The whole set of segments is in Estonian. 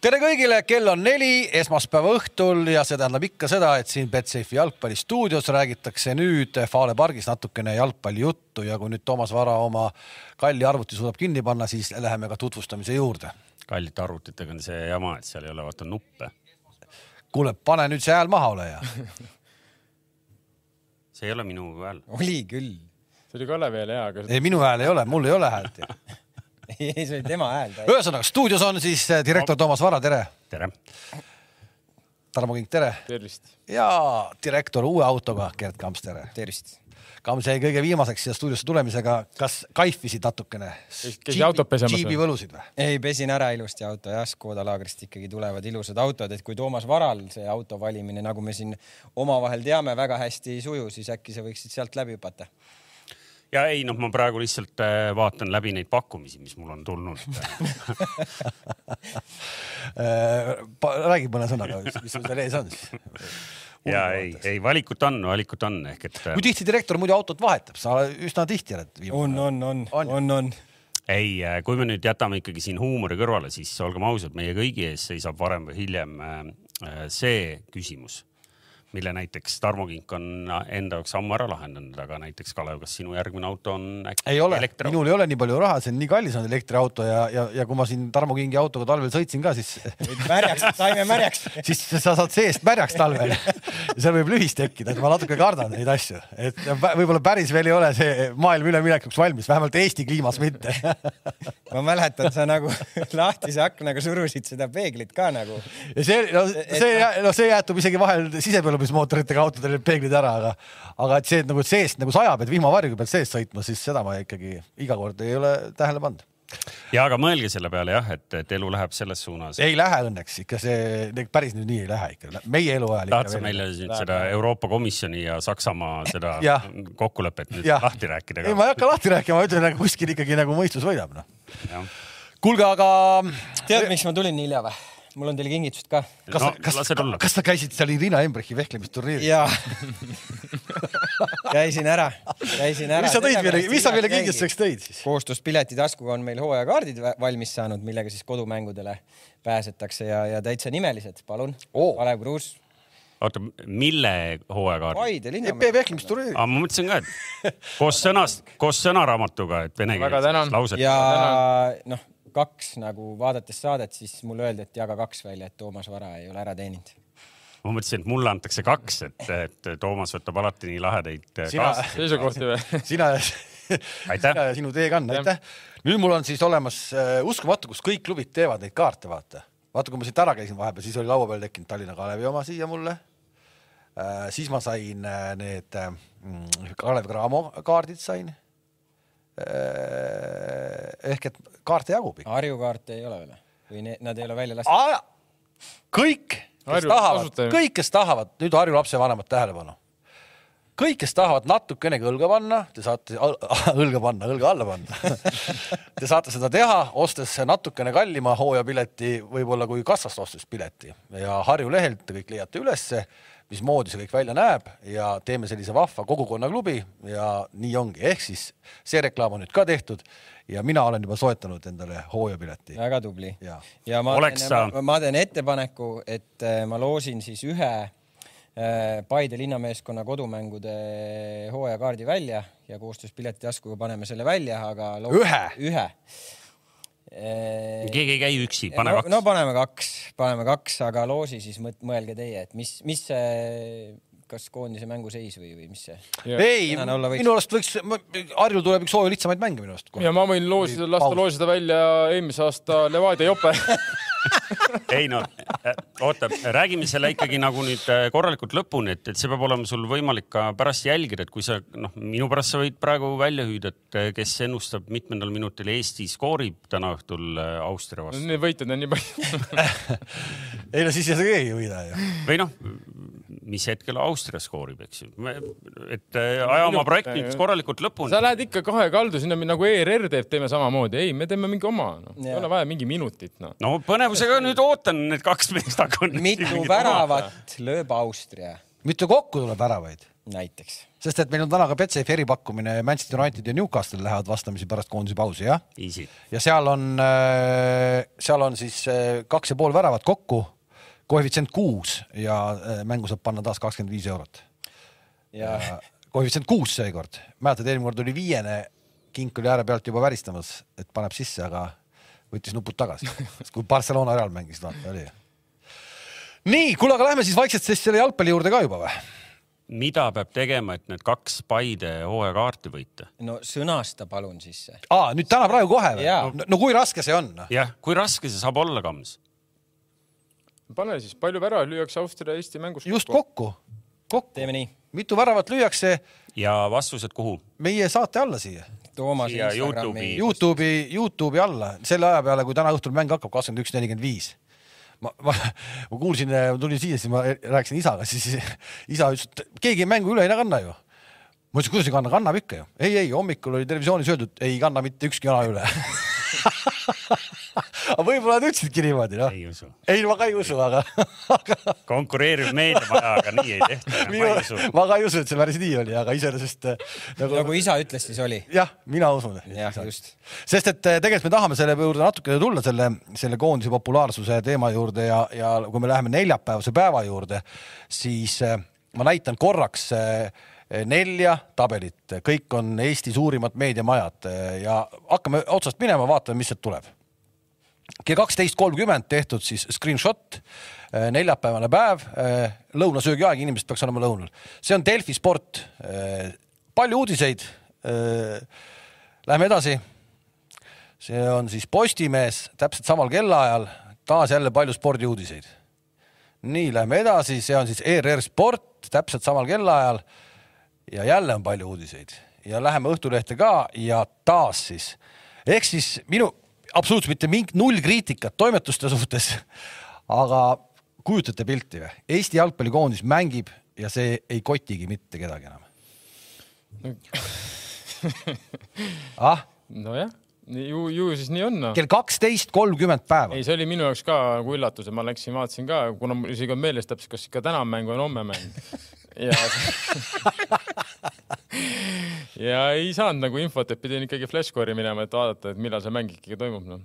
tere kõigile, kell on neli esmaspäeva õhtul ja see tähendab ikka seda, et siin Betsafe jalgpallistuudios räägitakse nüüd Fale pargis natukene jalgpallijuttu ja kui nüüd Toomas Vara oma kalli arvuti suudab kinni panna, siis läheme ka tutvustamise juurde. kallite arvutitega on see jama, et seal ei ole vaata nuppe. kuule , pane nüüd see hääl maha , ole hea . see ei ole minu hääl . oli küll . see oli Kalevi hääl hea , aga ei , minu hääl ei ole , mul ei ole häält . ei , see oli tema hääl . ühesõnaga stuudios on siis eh, direktor Toomas Vara , tere . tere . Tarmo Kink , tere . tervist . ja direktor uue autoga Gerd Kamps , tere . tervist . Kams jäi kõige viimaseks siia stuudiosse tulemisega , kas kaifisid natukene ? käis autot pesemas või? džiibi võlusid või ? ei , pesin ära ilusti auto jah , Škoda laagrist ikkagi tulevad ilusad autod , et kui Toomas Varal see auto valimine , nagu me siin omavahel teame , väga hästi ei suju , siis äkki sa võiksid sealt läbi hüpata . ja ei noh , ma praegu lihtsalt äh, vaatan läbi neid pakkumisi , mis mul on tulnud . räägi mõne sõnaga , mis sul seal ees on siis . ja ei , ei valikut on , valikut on ehk et äh, kui tihti direktor muidu autot vahetab , sa üsna tihti oled on , viimane . on , on , On ju? on , on . ei , kui me nüüd jätame ikkagi siin huumori kõrvale , siis olgem ausad , meie kõigi ees seisab varem või hiljem äh, äh, see küsimus mille näiteks Tarmo Kink on äh, enda jaoks ammu ära lahendanud , aga näiteks Kalev , kas sinu järgmine auto on äkki ei ole , elektriauto ? minul ei ole nii palju raha , see on nii kallis on elektriauto ja , ja , ja kui ma siin Tarmo Kingi autoga talvel sõitsin ka , siis , märjaks , saime märjaks . siis sa saad seest märjaks talvel . ja seal võib lühis tekkida , et ma natuke kardan neid asju , et vä- võib-olla päris veel ei ole see maailm üleminekuks valmis , vähemalt Eesti kliimas mitte . ma mäletan , sa nagu lahtise aknaga surusid seda peeglit ka nagu . ja see , no see , no see jäetub isegi vahel sisepõlemismootoritega autodel need peeglid ära , aga , aga et see et nagu seest nagu sajab , et vihmavarjuga pead seest sõitma , siis seda ma ikkagi iga kord ei ole tähele pannud . ja aga mõelge selle peale jah , et , et elu läheb selles suunas . ei lähe õnneks ikka see , päris nüüd nii ei lähe ikka , meie eluajal tahad sa ikka meile nüüd seda Euroopa Komisjoni ja Saksamaa seda Jah. kokkulepet nüüd Jah. lahti rääkida ei , ka ? ma ei hakka lahti rääkima , ma ütlen , et kuskil ikkagi nagu mõistus võidab , noh . jah. kuulge , aga tead , miks ma tulin nii hilja või ? mul on teile kingitused ka . kas no, , kas lase , tulla . kas sa käisid seal Irina Embrechi vehklemisturniiril ? jaa . käisin ära , käisin ära . mis sa tõid meile , mis sa meile kingituseks tõid siis ? koostöös Piletitaskuga on meil hooajakaardid vä- valmis saanud , millega siis kodumängudele pääsetakse ja , ja täitsa nimelised , palun Oo. oh. . Kalev Kruus , oota , mille hooajakaardi ? Paide EP linnamäe . vehklemisturniiril . aga ma mõtlesin ka , et koos sõnast , koos sõnaraamatuga , et vene Väga keeles tänan. laused . ja noh , kaks nagu vaadates saadet , siis mulle öeldi , et jaga kaks välja , et Toomas Vara ei ole ära teeninud . ma mõtlesin , et mulle antakse kaks , et , et Toomas võtab alati nii lahedaid Sina- kaasa . seisukohti või ? sina ja , Aitäh. sina ja sinu teekann , aitäh . nüüd mul on siis olemas äh, uskumatu , kus kõik klubid teevad neid kaarte , vaata . vaata , kui ma siit ära käisin vahepeal , siis oli laua peal tekkinud Tallinna Kalevi oma siia mulle äh, . siis ma sain äh, need äh, mm, Kalev Cramo kaardid sain äh, . ehk et kaarte jagub ikka . Harju kaarte ei ole veel või ne, nad ei ole välja lastud ? kõik , kes Harju tahavad , kasutaja. kõik , kes tahavad , nüüd Harju lapsevanemad tähelepanu kõik , kes tahavad natukenegi õlga panna , te saate al- õlga panna , õlga alla panna . Te saate seda teha , ostes natukene kallima hooajapileti , võib-olla kui kassast ostes pileti ja Harju lehelt te kõik leiate ülesse , mismoodi see kõik välja näeb ja teeme sellise vahva kogukonnaklubi ja nii ongi , ehk siis see reklaam on nüüd ka tehtud ja mina olen juba soetanud endale hooajapileti . väga tubli . Jaa. ja ma Oleks sa- teen , ma teen ettepaneku , et eh, ma loosin siis ühe eh, Paide linnameeskonna kodumängude hooajakaardi välja ja koostöös Piletitaskuga paneme selle välja , aga loo... Ühe? ühe . keegi ei käi üksi , pane no, kaks no paneme kaks , paneme kaks , aga loosi siis mõt- mõelge teie , et mis , mis see , kas koondise mänguseis või , või mis see ? ei , Tänane olla võiks. minu arust võiks , Harjul tuleb üks hooaja lihtsamaid mänge minu arust . ja ma võin loosida , lasta Paus. loosida välja eelmise aasta Levadia jope . ei no äh, oota , räägime selle ikkagi nagu nüüd äh, korralikult lõpuni , et , et see peab olema sul võimalik ka pärast jälgida , et kui sa noh , minu pärast sa võid praegu välja hüüda , et äh, kes ennustab mitmendal minutil Eesti skoorib täna õhtul äh, Austria vastu Need võitjad on nii palju . ei no siis ei saa keegi võida ju . või noh , mis hetkel Austria skoorib , eks ju . et äh, aja oma projekt nüüd korralikult sa lõpuni . lähed ikka kahe kaldu sinna , nagu ERR teeb , teeme samamoodi . ei , me teeme mingi oma no. . ei Jaa. ole vaja mingi minutit noh. no. . no põnevusega nüüd ootan need kaks meest hakkavad . mitu väravat lööb Austria ? mitu kokku tuleb väravaid ? näiteks . sest et meil on täna ka Betsafe eripakkumine Manchester United ja Newcastle lähevad vastamisi pärast koondise pausi jah . Easy . ja seal on , seal on siis äh, kaks ja pool väravat kokku , koefitsient kuus ja äh, mängu saab panna taas kakskümmend viis eurot . ja koefitsient kuus seekord , mäletad , eelmine kord oli viiene , kink oli ääre pealt juba väristamas , et paneb sisse , aga võttis nupud tagasi , kui Barcelona ajal mängis , vaata oli . nii , kuule , aga lähme siis vaikselt siis selle jalgpalli juurde ka juba või ? mida peab tegema , et need kaks Paide hooajakaarti võita ? no sõnasta palun sisse . aa , nüüd täna praegu kohe Jaa. või ? no kui raske see on ? jah , kui raske see saab olla , Kams ? pane siis , palju väravaid lüüakse Austria-Eesti mängus just . kokku , kokku , teeme nii . mitu väravat lüüakse ja vastused kuhu ? meie saate alla siia Toomas Siia Instagrami Youtube'i. . Youtube'i , Youtube'i alla selle aja peale , kui täna õhtul mäng hakkab , kakskümmend üks , nelikümmend viis . ma , ma , ma kuulsin , tulin siia , siis ma rääkisin isaga , siis isa ütles , et keegi mängu üle ei kanna ju . ma ütlesin , kuidas ei kanna , kannab ikka ju . ei , ei hommikul oli televisioonis öeldud , ei kanna mitte ükski jala üle . aga võib-olla nad ütlesidki niimoodi , noh . ei usu . ei , ma ka ei usu , aga , aga konkureeriv meediamaja , aga nii ei tehta . ma minu ei usu ., ma ka ei usu , et see päris nii oli , aga iseenesest äh, nagu nagu isa ütles , siis oli . jah , mina usun . jah , just . sest et eh, tegelikult me tahame selle juurde natuke tulla selle , selle koondise populaarsuse teema juurde ja , ja kui me läheme neljapäevase päeva juurde , siis eh, ma näitan korraks eh, nelja tabelit , kõik on Eesti suurimad meediamajad eh, ja hakkame otsast minema , vaatame , mis sealt tuleb kell kaksteist kolmkümmend tehtud siis screenshot , neljapäevane päev , lõunasöögiaeg , inimesed peaks olema lõunal . see on Delfi sport . palju uudiseid . Läheme edasi . see on siis Postimees täpselt samal kellaajal , taas jälle palju spordiuudiseid . nii , lähme edasi , see on siis ERR Sport täpselt samal kellaajal ja jälle on palju uudiseid ja läheme Õhtulehte ka ja taas siis ehk siis minu absoluutselt mitte mingi null kriitikat toimetuste suhtes . aga kujutate pilti või ? Eesti jalgpallikoondis mängib ja see ei kotigi mitte kedagi enam . ah , nojah , ju , ju siis nii on noh. no. . kell kaksteist kolmkümmend päeva ei ,. see oli minu jaoks ka nagu üllatus ja ma läksin , vaatasin ka , kuna mul isegi on meeles täpselt , kas ikka täna on mäng või on homme mäng . ja ja ei saanud nagu infot , et pidin ikkagi Flashcore'i minema , et vaadata , et millal see mäng ikkagi toimub , noh .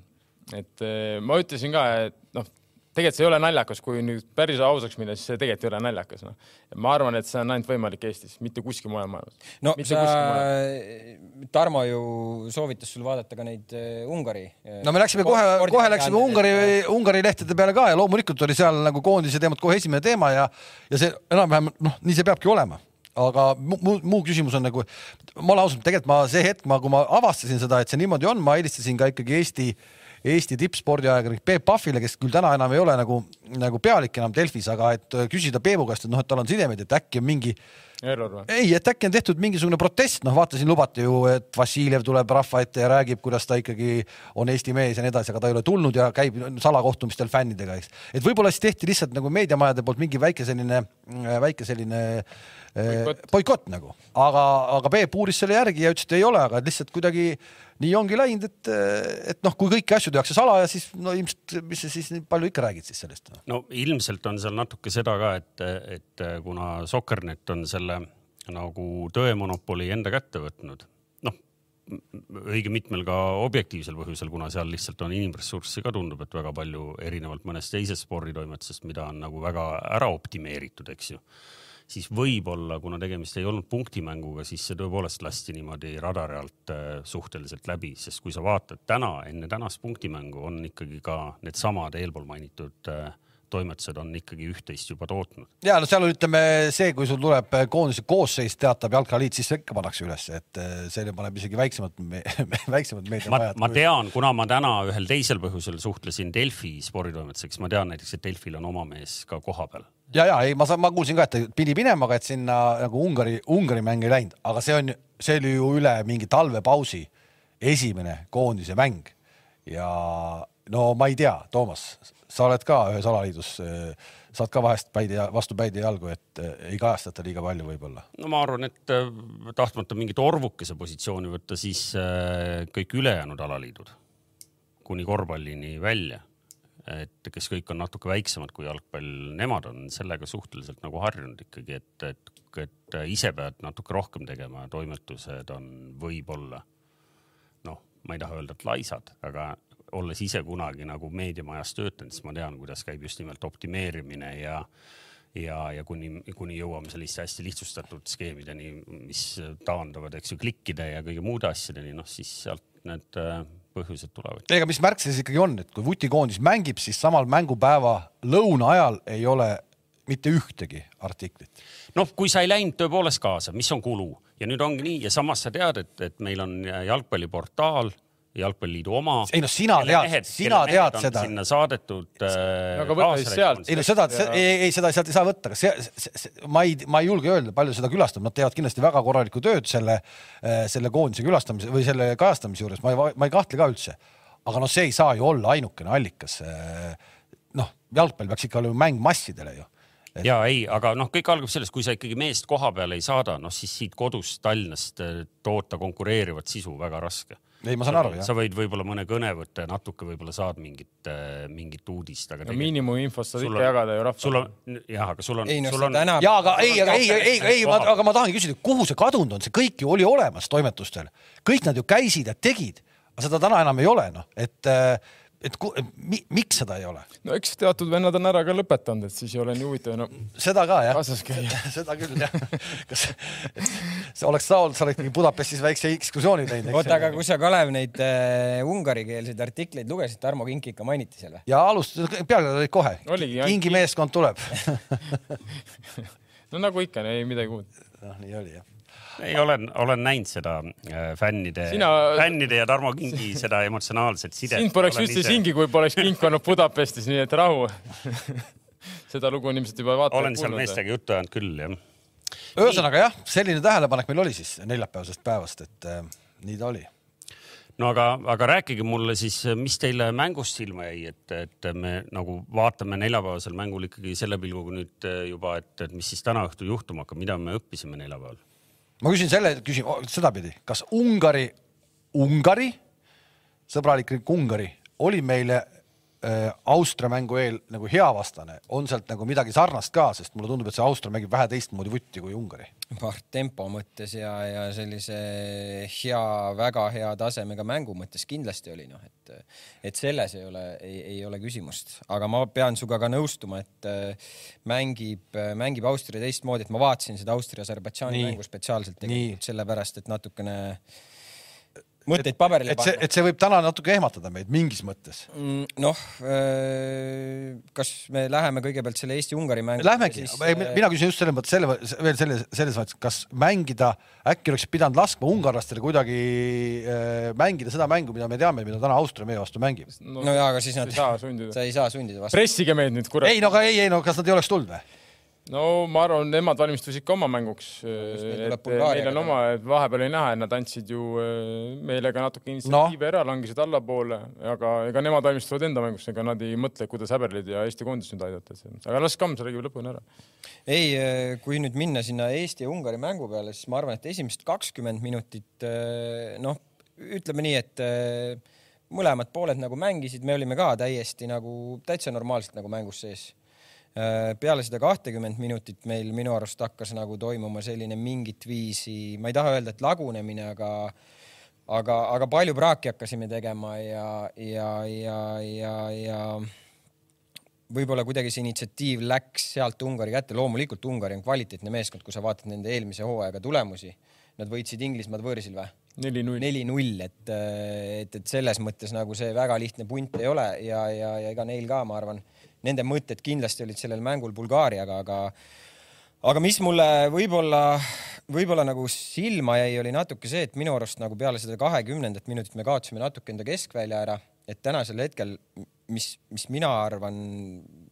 et eh, ma ütlesin ka , et noh , tegelikult see ei ole naljakas , kui nüüd päris ausaks minna , siis see tegelikult ei ole naljakas , noh . ma arvan , et see on ainult võimalik Eestis , mitte kuskil mujal maailmas . no mitte sa kuskil mujal. , Tarmo ju soovitas sul vaadata ka neid eh, Ungari . no me läksime kohe , kohe läksime Ungari , Ungari lehtede peale ka ja loomulikult oli seal nagu koondise teemad kohe esimene teema ja , ja see enam-vähem noh , nii see peabki olema . aga mu- mu- muu küsimus on nagu , ma olen ausalt , tegelikult ma see hetk , ma , kui ma avastasin seda , et see niimoodi on , ma helistasin ka ikkagi Eesti , Eesti tippspordiajakirjanik Peep Pahvile , kes küll täna enam ei ole nagu , nagu pealik enam Delfis , aga et küsida Peebu käest , et noh , et tal on sidemeid , et äkki on mingi error või ? ei , et äkki on tehtud mingisugune protest , noh , vaatasin , lubati ju , et Vassiljev tuleb rahva ette ja räägib , kuidas ta ikkagi on Eesti mees ja nii edasi , aga ta ei ole tulnud ja käib salakohtumistel fännidega , eks . et võib-olla siis tehti lihtsalt nagu meediamajade poolt mingi väike selline , väike selline eh, Boikott. boikott nagu , aga , aga Peep uuris selle järgi ja ütles , et ei ole , aga lihtsalt kuidagi nii ongi läinud , et , et noh , kui kõiki asju tehakse salaja , siis no ilmselt , mis sa siis nii palju ikka räägid siis sellest noh. no. . no ilmselt on seal natuke seda ka , et , et kuna Sokernet on selle nagu tõemonopoli enda kätte võtnud , noh m- õige mitmel ka objektiivsel põhjusel , kuna seal lihtsalt on inimressurssi ka tundub , et väga palju erinevalt mõnest teisest sporditoimetusest , mida on nagu väga ära optimeeritud , eks ju siis võib-olla , kuna tegemist ei olnud punktimänguga , siis see tõepoolest lasti niimoodi radari alt äh, suhteliselt läbi , sest kui sa vaatad täna , enne tänast punktimängu on ikkagi ka needsamad eelpool mainitud äh, toimetused on ikkagi üht-teist juba tootnud . ja no seal on , ütleme see , kui sul tuleb äh, koondise koosseis , teatab Jalkaliit , siis see ikka pannakse ülesse , et eh, selle paneb isegi väiksemad , väiksemad ma , ma meediamajad . tean , kuna ma täna ühel teisel põhjusel suhtlesin Delfi sporditoimetuseks , ma tean näiteks , et Delfil on oma mees ka kohapeal . ja , ja ei , ma saan , ma kuulsin ka , et ta pidi minema , aga et sinna nagu Ungari , Ungari mäng ei läinud , aga see on , see oli ju üle mingi talvepausi esimene koondise mäng ja no ma ei tea , Toomas , sa oled ka ühes alaliidus , saad ka vahest päide , vastu päide jalgu , et eh, ei kajastata liiga palju võib-olla . no ma arvan , et äh, tahtmata mingit orvukese positsiooni võtta , siis äh, kõik ülejäänud alaliidud kuni korvpallini välja et kes kõik on natuke väiksemad kui jalgpall, nemad on sellega suhteliselt nagu harjunud ikkagi, et, et, et ise pead natuke rohkem tegema ja toimetused on võib-olla noh, ma ei taha öelda, et laisad, aga olles ise kunagi nagu meediamajas töötanud, siis ma tean, kuidas käib just nimelt optimeerimine ja ja , ja kuni , kuni jõuame selliste hästi lihtsustatud skeemideni , mis taanduvad , eks ju , klikkide ja kõige muude asjadeni , noh siis sealt need äh, põhjused tulevad . ega mis märk see siis ikkagi on , et kui vutikoondis mängib , siis samal mängupäeva lõuna ajal ei ole mitte ühtegi artiklit . noh , kui sa ei läinud tõepoolest kaasa , mis on kulu ja nüüd ongi nii ja samas sa tead , et , et meil on jalgpalliportaal , Jalgpalliliidu oma . Ei no sina tead- sina tead seda. sinna saadetud äh, . aga võta siis sealt. ei no seda , ei , ei seda sealt ei saa võtta , see, see , see , ma ei , ma ei julge öelda , palju seda külastab , nad teevad kindlasti väga korralikku tööd selle , selle koondise külastamise või selle kajastamise juures , ma ei , ma ei kahtle ka üldse . aga noh , see ei saa ju olla ainukene allikas . noh , jalgpall peaks ikka olema mäng massidele ju . ja ei , aga noh , kõik algab sellest , kui sa ikkagi meest koha peale ei saada , noh siis siit kodust Tallinnast äh, toota konkureerivat sisu väga raske . ei , ma saan aru jah sa . võid võib-olla mõne kõne võtta ja natuke võib-olla saad mingit , mingit uudist , aga no . miinimuminfost saad Sul ikka on- jagada ju sul rahvale . on , jah , aga sul on , ei noh , sul see on , täna . ja aga ei , aga ei , ei , ei , aga ma tahangi küsida , kuhu see kadunud on , see kõik ju oli olemas toimetustel , kõik nad ju käisid ja tegid , aga seda täna enam ei ole noh , et , et ku, mi, miks seda ei ole , no eks teatud vennad on ära ka lõpetanud , et siis ei ole nii huvitav enam no, seda ka jah . kaasas käia . seda küll jah , kas see oleks sa olnud , sa oled ikkagi Budapestis väikse ekskursiooni teinud , eks oota , aga kui sa , Kalev , neid äh, ungarikeelseid artikleid lugesid , Tarmo Kink ikka mainiti seal või ? ja alustas , peale olid kohe , Oligi, jah. kingi meeskond tuleb . no nagu ikka , ei midagi uut . noh , nii oli jah . ei olen , olen näinud seda äh, fännide Sina... Sina- , fännide ja Tarmo Kingi seda emotsionaalset sidet . sind poleks üldse singi , kui poleks kink olnud Budapestis , nii et rahu . seda lugu on ilmselt juba vaata . olen seal . meestega juttu ajanud küll jah . ühesõnaga jah , selline tähelepanek meil oli siis neljapäevasest päevast , et äh, nii ta oli . no aga , aga rääkige mulle siis , mis teile mängust silma jäi , et , et me nagu vaatame neljapäevasel mängul ikkagi selle pilguga nüüd äh, juba , et , et mis siis täna õhtul juhtuma hakkab , mida me õppisime neljapäeval ? ma küsin selle , küsin o- sedapidi , kas Ungari , Ungari , sõbralik riik Ungari oli meile äh, Austria mängu eel nagu hea vastane , on sealt nagu midagi sarnast ka , sest mulle tundub , et see Austria mängib vähe teistmoodi vutti kui Ungari . noh , tempo mõttes ja , ja sellise hea , väga hea tasemega mängu mõttes kindlasti oli noh , et , et selles ei ole , ei, ei ole küsimust , aga ma pean sinuga ka nõustuma , et äh, mängib , mängib Austria teistmoodi , et ma vaatasin seda Austria-Aserbaidžaani Nii. mängu spetsiaalselt Nii. tegelikult sellepärast , et natukene mõtteid paberile et see , panna . et see võib täna natuke ehmatada meid mingis mõttes . noh , kas me läheme kõigepealt selle Eesti-Ungari mängu ? Lähmegi , äh, mina küsin just selles mõttes selle , veel selle , selles mõttes , kas mängida , äkki oleks pidanud laskma ungarlastele kuidagi äh, mängida seda mängu , mida me teame , mida täna Austria meie vastu mängib . no jaa , aga siis sa nad ei , saa sundida . sa ei saa sundida vastu . pressige meid nüüd , kurat . ei no aga ei , ei no kas nad ei oleks tulnud või ? no ma arvan , nemad valmistusid ka oma mänguks . meil tuleb et Bulgaaria meil on ka. oma , et vahepeal oli näha , et nad andsid ju eh, meile ka natuke initsiatiivi no. ära , langesid allapoole , aga ega nemad valmistuvad enda mänguks , ega nad ei mõtle , kuidas häberlid ja Eesti koondist nüüd aidata . aga las Kams räägib lõpuni ära . ei , kui nüüd minna sinna Eesti ja Ungari mängu peale , siis ma arvan , et esimesed kakskümmend minutit , noh , ütleme nii , et eh, mõlemad pooled nagu mängisid , me olime ka täiesti nagu täitsa normaalselt nagu mängus sees . peale seda kahtekümmet minutit meil minu arust hakkas nagu toimuma selline mingit viisi , ma ei taha öelda , et lagunemine , aga aga , aga palju praaki hakkasime tegema ja , ja , ja , ja , ja võib-olla kuidagi see initsiatiiv läks sealt Ungari kätte , loomulikult Ungari on kvaliteetne meeskond , kui sa vaatad nende eelmise hooaega tulemusi . Nad võitsid Inglismaad võõrsil või ? neli-null . neli-null , et , et , et selles mõttes nagu see väga lihtne punt ei ole ja , ja , ja ega neil ka , ma arvan , nende mõtted kindlasti olid sellel mängul Bulgaariaga , aga aga mis mulle võib-olla , võib-olla nagu silma jäi , oli natuke see , et minu arust nagu peale seda kahekümnendat minutit me kaotasime natuke enda keskvälja ära , et tänasel hetkel , mis , mis mina arvan ,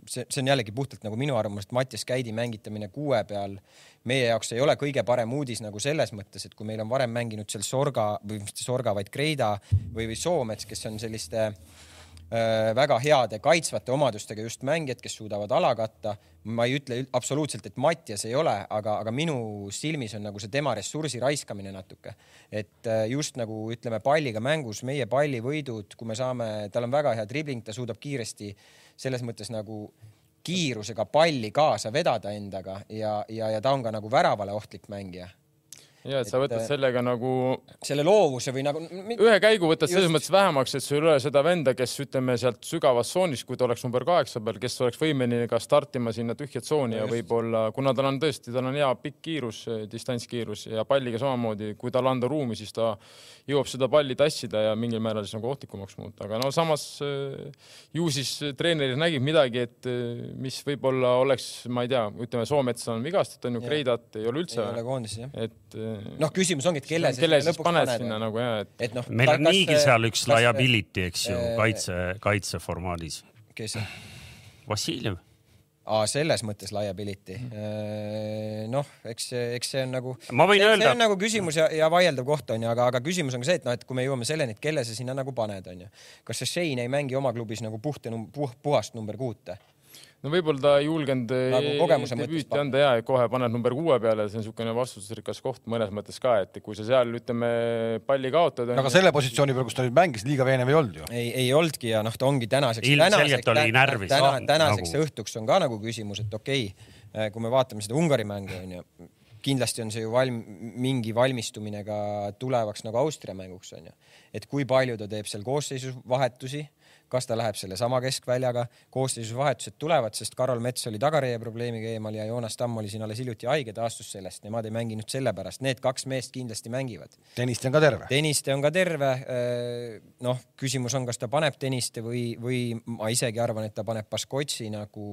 see , see on jällegi puhtalt nagu minu arvamus , et Mattias Käidi mängitamine kuue peal meie jaoks ei ole kõige parem uudis nagu selles mõttes , et kui meil on varem mänginud seal Sorga või mitte Sorga , vaid Kreida või , või Soomets , kes on selliste öö, väga heade kaitsvate omadustega just mängijad , kes suudavad ala katta . ma ei ütle ül- absoluutselt , et Mattias ei ole , aga , aga minu silmis on nagu see tema ressursi raiskamine natuke . et öö, just nagu ütleme palliga mängus meie pallivõidud , kui me saame , tal on väga hea dribling , ta suudab kiiresti selles mõttes nagu kiirusega palli kaasa vedada endaga ja , ja , ja ta on ka nagu väravale ohtlik mängija . ja et sa Et, võtad äh, sellega nagu selle loovuse või nagu , ühe käigu võtad selles Just. mõttes vähemaks , et sul ei ole seda venda , kes ütleme sealt sügavas tsoonis , kui ta oleks number kaheksa peal , kes oleks võimeline ka startima sinna tühja tsooni ja võib-olla , kuna tal on tõesti , tal on hea pikk kiirus , distantskiirus ja palliga samamoodi , kui talle anda ruumi , siis ta jõuab seda palli tassida ja mingil määral siis nagu ohtlikumaks muuta , aga no samas äh, ju siis treener nägid midagi , et äh, mis võib-olla oleks , ma ei tea , ütleme Soomets on vigastatud , on ju , Jah. Kreidat ei ole ei üldse , ole nagu- koondises jah . et äh, noh , küsimus ongi , et kelle sa kelle sinna siis lõpuks paned sinna nagu ja , et et noh , meil on eh, niigi seal üks liability , eks ju äh, , kaitse , kaitse formaadis . kes , Vassiljev , aa , selles mõttes liability . noh , eks , eks see on nagu . Ma võin öelda- see on nagu küsimus ja, ja vaieldav koht onju , aga , aga küsimus on ka see , et noh , et kui me jõuame selleni , et kelle sa sinna nagu paned , onju . kas see Shane ei mängi oma klubis nagu puht , puh, puhast number kuute ? no võib-olla ta ei julgenud Nagu kogemuse mõttes debüüti pakkuda. anda ja kohe paned number kuue peale , see on niisugune vastutusrikas koht mõnes mõttes ka , et kui sa seal ütleme palli kaotad , aga selle positsiooni peal , kus ta nüüd mängis , liiga veenev ei olnud ju . ei , ei olnudki ja noh , ta ongi tänaseks . Ilmselgelt oli närvis. täna, Ah, . nagu- tänaseks nagu... õhtuks on ka nagu küsimus , et okei okay, , kui me vaatame seda Ungari mängu onju , kindlasti on see ju valm- , mingi valmistumine ka tulevaks nagu Austria mänguks onju , et kui palju ta teeb seal koosseisus vahetusi kas ta läheb sellesama keskväljaga , koosseisus vahetused tulevad , sest Karol Mets oli tagareie probleemiga eemal ja Joonas Tamm oli siin alles hiljuti haige , taastus sellest , nemad ei mänginud sellepärast , need kaks meest kindlasti mängivad . Tõniste on ka terve . Tõniste on ka terve . noh , küsimus on , kas ta paneb Tõniste või , või ma isegi arvan , et ta paneb Baskotsi nagu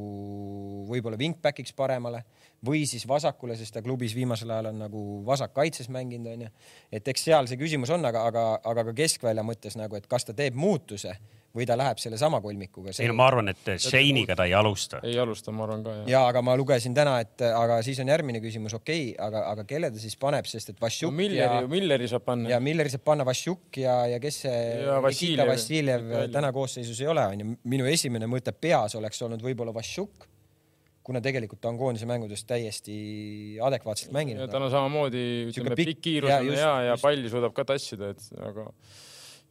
võib-olla wingback'iks paremale või siis vasakule , sest ta klubis viimasel ajal on nagu vasakkaitses mänginud , onju . et eks seal see küsimus on , aga , aga , aga ka keskvälja mõttes nagu , et kas ta teeb muutuse või ta läheb sellesama kolmikuga . ei no ma arvan , et Shane'iga ta ei alusta . ei alusta , ma arvan ka ja . ja aga ma lugesin täna , et aga siis on järgmine küsimus , okei okay, , aga , aga kelle ta siis paneb , sest et Vassiuk ja Milleri , Milleri saab panna ja . Milleri saab panna Vassiuk ja , ja kes see Ja Nikita Vassiljev. Vassiljev täna koosseisus ei ole , onju . minu esimene mõte peas oleks olnud võib-olla Vassiuk , kuna tegelikult ta on koondise mängudes täiesti adekvaatselt ja mänginud . tal on samamoodi , Sihuke ütleme pikk- pikk kiirus jaa, on just- hea ja just. palli suudab ka tassida , et aga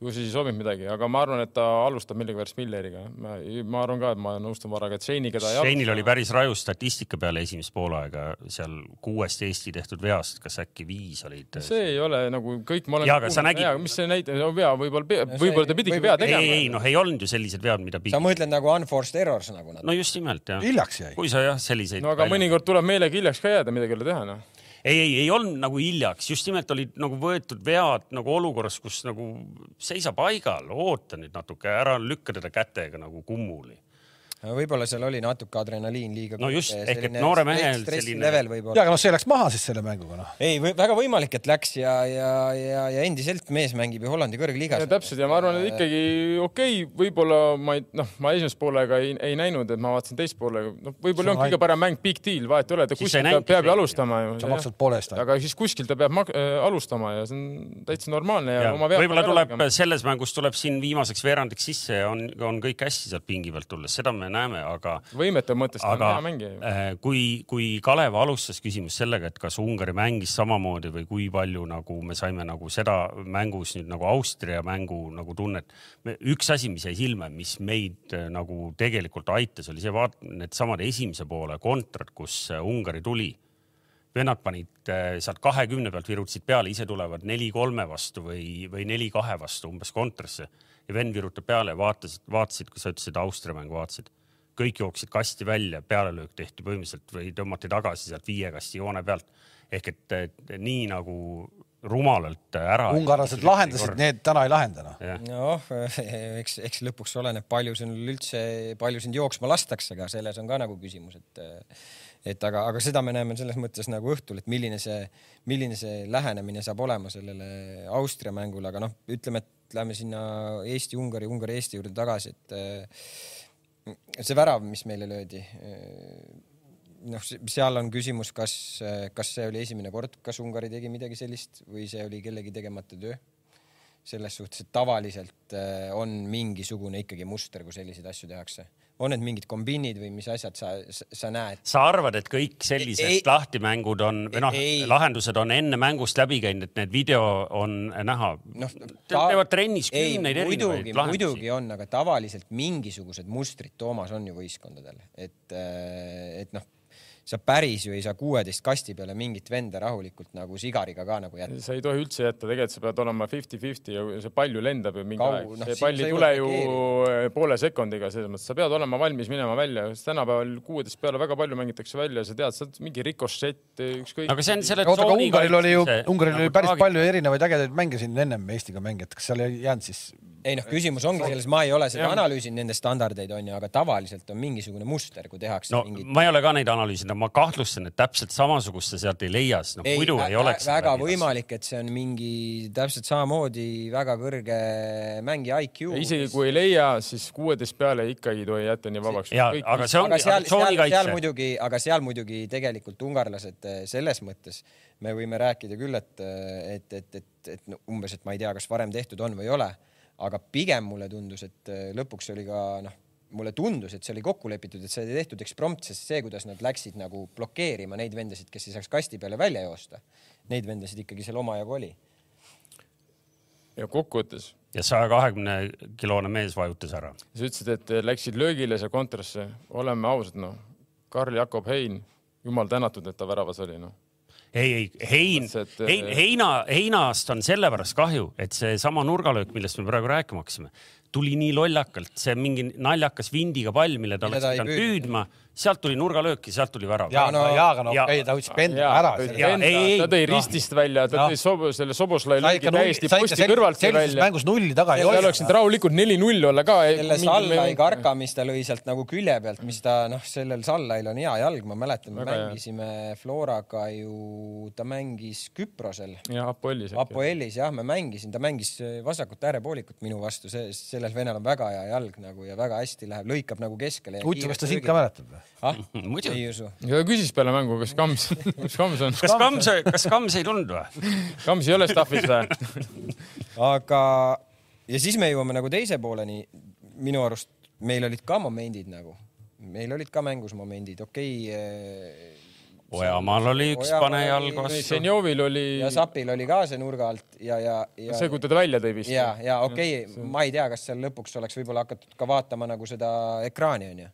ju siis ei sobi midagi , aga ma arvan , et ta alustab millegipärast Milleriga . ma , ma arvan ka , et ma nõustun Varraga , et Shane'iga ta ei alusta . Shane'il oli päris raju statistika peale esimest poolaega seal kuuest Eesti tehtud veast , kas äkki viis olid ? see ei ole nagu kõik , ma olen . Jaa, aga sa nägid- mis see näide , vea võib-olla , see- võib-olla ta pidigi vea võib-olla- ei , tegema . ei , noh , ei olnud ju sellised vead , mida sa pidi . mõtled nagu unforced errors nagu nad . no just nimelt jah . hiljaks jäi . kui sa jah , selliseid . no aga mõnikord tuleb meelega hiljaks ka jääda , midagi ei ole teha noh . ei , ei , ei olnud nagu hiljaks , just nimelt olid nagu võetud vead nagu olukorras , kus nagu seisa paigal , oota nüüd natuke , ära lükka teda kätega nagu kummuli . võib-olla seal oli natuke adrenaliin liiga . No just, ehk et noore mehel selline- stressilevel ja võib-olla . aga noh , see läks maha siis selle mänguga noh . ei , väga võimalik , et läks ja , ja , ja , ja endiselt mees mängib ju Hollandi kõrgliigas ja . täpselt ja ma arvan , et ikkagi okei okay, , võib-olla ma ei , noh , ma esimest poolega ei, ei näinud , et ma vaatasin teist poolega , noh , võib-olla See on ongi kõige parem mäng , big deal , vahet ei ole , ta Siis sa ei kuskilt ta näinudki peab kõike. ju alustama ju . sa maksad poole eest ainult . aga siis kuskilt ta peab mak- äh, alustama ja see on täitsa normaalne ja, ja oma vea . võib-olla tuleb . selles mängus tuleb siin viimaseks veerandiks sisse ja on , on kõik hästi sealt pingi pealt tulles , seda me näeme , aga võimete mõttes ta on aga hea mängija ju . äh, kui , kui Kalev alustas küsimus sellega , et kas Ungari mängis samamoodi või kui palju nagu me saime nagu seda mängus nüüd nagu Austria mängu nagu tunnet . üks asi , mis jäi silma , mis meid äh, nagu tegelikult aitas , oli see vaat- , needsamad esimese poole kontrad , kus äh, Ungari tuli . vennad panid äh, sealt kahekümne pealt virutasid peale , ise tulevad neli-kolme vastu või , või neli-kahe vastu umbes kontrasse ja vend virutab peale , vaatas , vaatasid , kui sa ütlesid Austria mängu , vaatasid kõik jooksid kasti välja , pealelöök tehti põhimõtteliselt või tõmmati tagasi sealt viie kasti joone pealt . ehk et, et nii nagu rumalalt ära . ungarlased lahendasid , need täna ei lahenda noh . noh , eks , eks lõpuks oleneb , palju sinul üldse , palju sind jooksma lastakse , aga selles on ka nagu küsimus , et et aga , aga seda me näeme selles mõttes nagu õhtul , et milline see , milline see lähenemine saab olema sellele Austria mängule , aga noh , ütleme , et lähme sinna Eesti-Ungari , Ungari-Eesti juurde tagasi , et äh, see värav , mis meile löödi , noh , seal on küsimus , kas , kas see oli esimene kord , kas Ungari tegi midagi sellist või see oli kellegi tegemata töö eh, selles suhtes , et tavaliselt äh, on mingisugune ikkagi muster , kui selliseid asju tehakse . on need mingid kombinid või mis asjad sa , sa näed ? sa arvad , et kõik sellised ei, Ei- lahtimängud on või noh Ei. , lahendused on enne mängust läbi käinud , et need video on näha no, ? teevad trennis kümneid erinevaid Noh, muidugi , lahendusi . muidugi on , aga tavaliselt mingisugused mustrid Toomas on ju võistkondadel , et , et noh , sa päris ju ei saa kuueteist kasti peale mingit venda rahulikult nagu sigariga ka nagu jätta . sa ei tohi üldse jätta , tegelikult sa pead olema fifty-fifty ja see pall ju lendab ju mingi Kaugel, aeg noh, no, . see siis pall sa ei ei tule jõua ju poole sekundiga , selles mõttes sa pead olema valmis minema välja , sest tänapäeval kuueteist peale väga palju mängitakse välja , sa tead , sa oled mingi rikošett , ükskõik . aga see on selle oota , aga tsooni Ungaril oli ju kaitse- , Ungaril oli nagu päris traagi- palju erinevaid ägedaid mänge siin ennem Eestiga mängijad , kas seal ei jäänud siis ? ei noh , küsimus ongi selles , ma ei ole seda analüüsinud , nende standardeid on ju , aga tavaliselt on mingisugune muster , kui tehakse no mingit ma ei ole ka neid analüüsinud , ma kahtlustan , et täpselt samasugust sa sealt ei leia , sest noh muidu ei vä- oleks . väga . võimalik , et see on mingi täpselt samamoodi väga kõrge mängija IQ . isegi kui ei leia , siis kuueteist peale ikkagi ei tohi jätta nii vabaks . ja , aga see aga ongi seal , seal , seal tsoonikaitse . muidugi , aga seal muidugi tegelikult ungarlased eh, selles mõttes me võime rääkida küll , et , et , et , et , et no umbes , et ma ei tea , kas varem tehtud on või ei ole , aga pigem mulle tundus , et eh, lõpuks oli ka noh , mulle tundus , et see oli kokku lepitud , et see oli tehtud eksprompt , sest see , kuidas nad läksid nagu blokeerima neid vendasid , kes ei saaks kasti peale välja joosta , neid vendasid ikkagi seal omajagu oli . ja kokkuvõttes ja saja kahekümne kilone mees vajutas ära . sa ütlesid , et läksid löögile seal kontrasse , oleme ausad , noh . Karl Jakob Hein , jumal tänatud , et ta väravas oli , noh . ei , ei , hein Lihtsalt, , hein , eh, heina , heinast on sellepärast kahju , et seesama nurgalöök , millest me praegu rääkima hakkasime , tuli nii lollakalt , see mingi naljakas vindiga pall , mille ta oleks ta ei pidanud püüdnud. püüdma , sealt tuli nurgalöök ja sealt tuli värav . jaa , no no- jaa , aga no ja- okei , ta võttis penda ära . ja- ei, ei, ta tõi ristist välja , ta Noh. tõi sobo, selle Soboslai sa löögi ikka nulli , täiesti sa ikka posti kõrvalt sel- tõi sellises välja . mängus nulli taga ei seal hoia . oleks nüüd rahulikult neli-null olla ka . selle Sallai . karka , mis ta lõi sealt nagu külje pealt , mis ta noh , sellel Sallail on hea jalg , ma mäletan , me Väga hea. mängisime Floraga ju , ta mängis Küprosel . jah , Apollis . Apoelis jah , ma mängisin , ta mängis äh, vasakut äärepoolikut minu vastu , see , sellel venel on väga hea jalg nagu ja väga hästi läheb , lõikab nagu keskele . huvitav , kas ta sind ka ? mäletab või ? ah , Muidugi. ei usu . ja ta küsis peale mängu , kas Kams , kus Kams on . kas Kams , kas Kams ei tulnud või ? Kams ei ole staff'is või ? aga , ja siis me jõuame nagu teise pooleni . minu arust meil olid ka momendid nagu , meil olid ka mängus momendid , okei äh, okay, . Ojamaal oli üks Ojamaal panejalg oli- vastu . Senjovil oli ja Sapil oli ka see nurga alt ja , ja , ja . see , kui ta ta välja tõi vist . ja , ja okei okay, , ma ei tea , kas seal lõpuks oleks võib-olla hakatud ka vaatama nagu seda ekraani onju ,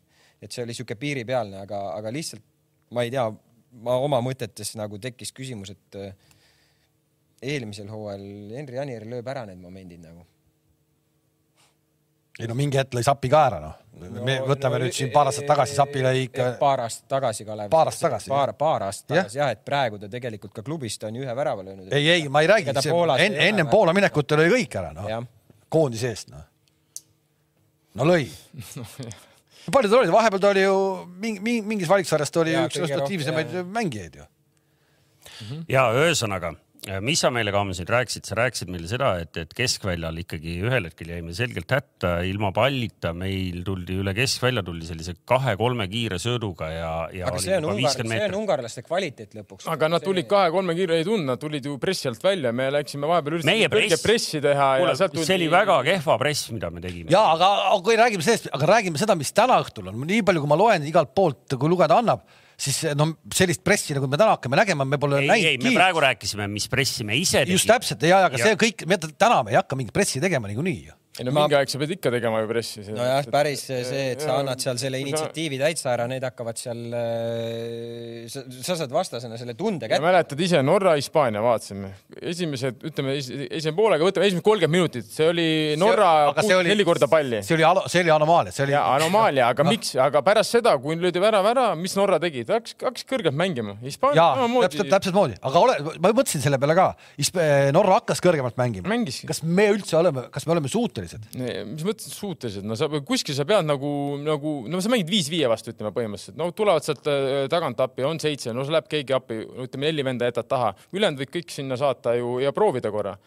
et see oli sihuke piiripealne , aga , aga lihtsalt ma ei tea , ma oma mõtetes nagu tekkis küsimus , et äh, eelmisel hooajal Henri Anier lööb ära need momendid nagu . ei no mingi hetk lõi sapi ka ära noh . me võtame nüüd siin paar aastat tagasi , sapi lõi ikka . e, paar aastat tagasi , Kalev . Paar aastat tagasi, paar , paar aastat Jah. tagasi jah , et praegu ta tegelikult ka klubis ta on ju ühe värava löönud . ei , ei , ma ei räägi Ega ta , Poolas ei enne , ole ennem või? Poola minekut ta lõi kõik ära noh Jah. , koondise eest noh . no lõi . palju tal oli , vahepeal ta oli ju mingi , mingi , mingis valiksarjas ta oli Jaa, üks kõige resultatiivsemaid mängijaid ju . ja ühesõnaga , mis sa meile , Kams , nüüd rääkisid , sa rääkisid meile seda , et , et keskväljal ikkagi ühel hetkel jäime selgelt hätta , ilma pallita meil tuldi üle keskvälja , tuldi sellise kahe-kolme kiire sööduga ja , ja aga oli see on juba ungar , viiskümmend see on meetrit . ungarlaste kvaliteet lõpuks . aga nad tulid kahe-kolme kiire , ei tulnud , nad tulid ju pressi alt välja , me läksime vahepeal meie kõrge press , pressi teha ja sealt see oli väga kehva press , mida me tegime . ja aga aga kui räägime sellest , aga räägime seda , mis täna õhtul on , nii palju , kui ma loen igalt poolt , kui lugeda annab , siis no sellist pressi , nagu me täna hakkame nägema , me pole ei , ei , me näinudki . praegu rääkisime , mis pressi me ise tegime . just täpselt ja , aga see kõik , me t- täna me ei hakka mingit pressi tegema niikuinii ju . ei no mingi aeg sa pead ikka tegema ju pressi . nojah , päris see , et sa ja- annad seal selle sa- initsiatiivi täitsa ära , need hakkavad seal , sa, sa saad vastasena selle tunde ja kätte . mäletad ise Norra , Hispaania vaatasime , esimesed , ütleme es- esimese poolega , võtame esimesed kolmkümmend minutit , see oli Norra aga see kuus- oli- neli korda palli . see oli , see oli anomaalia , see oli Ah. ja . anomaalia , aga miks , aga pärast seda , kui löödi värav ära , mis Norra tegi , ta hakkas , hakkas kõrgelt mängima . Hispaania jaa , täpselt , samamoodi täpselt moodi , aga ole , ma mõtlesin selle peale ka , Norra hakkas kõrgemalt mängima . mängis . kas me üldse oleme , kas me oleme suutelised ? mis mõttes suutelised , no sa kuskil sa pead nagu , nagu no sa mängid viis-viie vastu , ütleme põhimõtteliselt , no tulevad sealt äh, tagant appi , on seitse , no siis läheb keegi appi , ütleme neli venda jätad taha , ülejäänud võid kõik sinna saata ju ja proovida korra .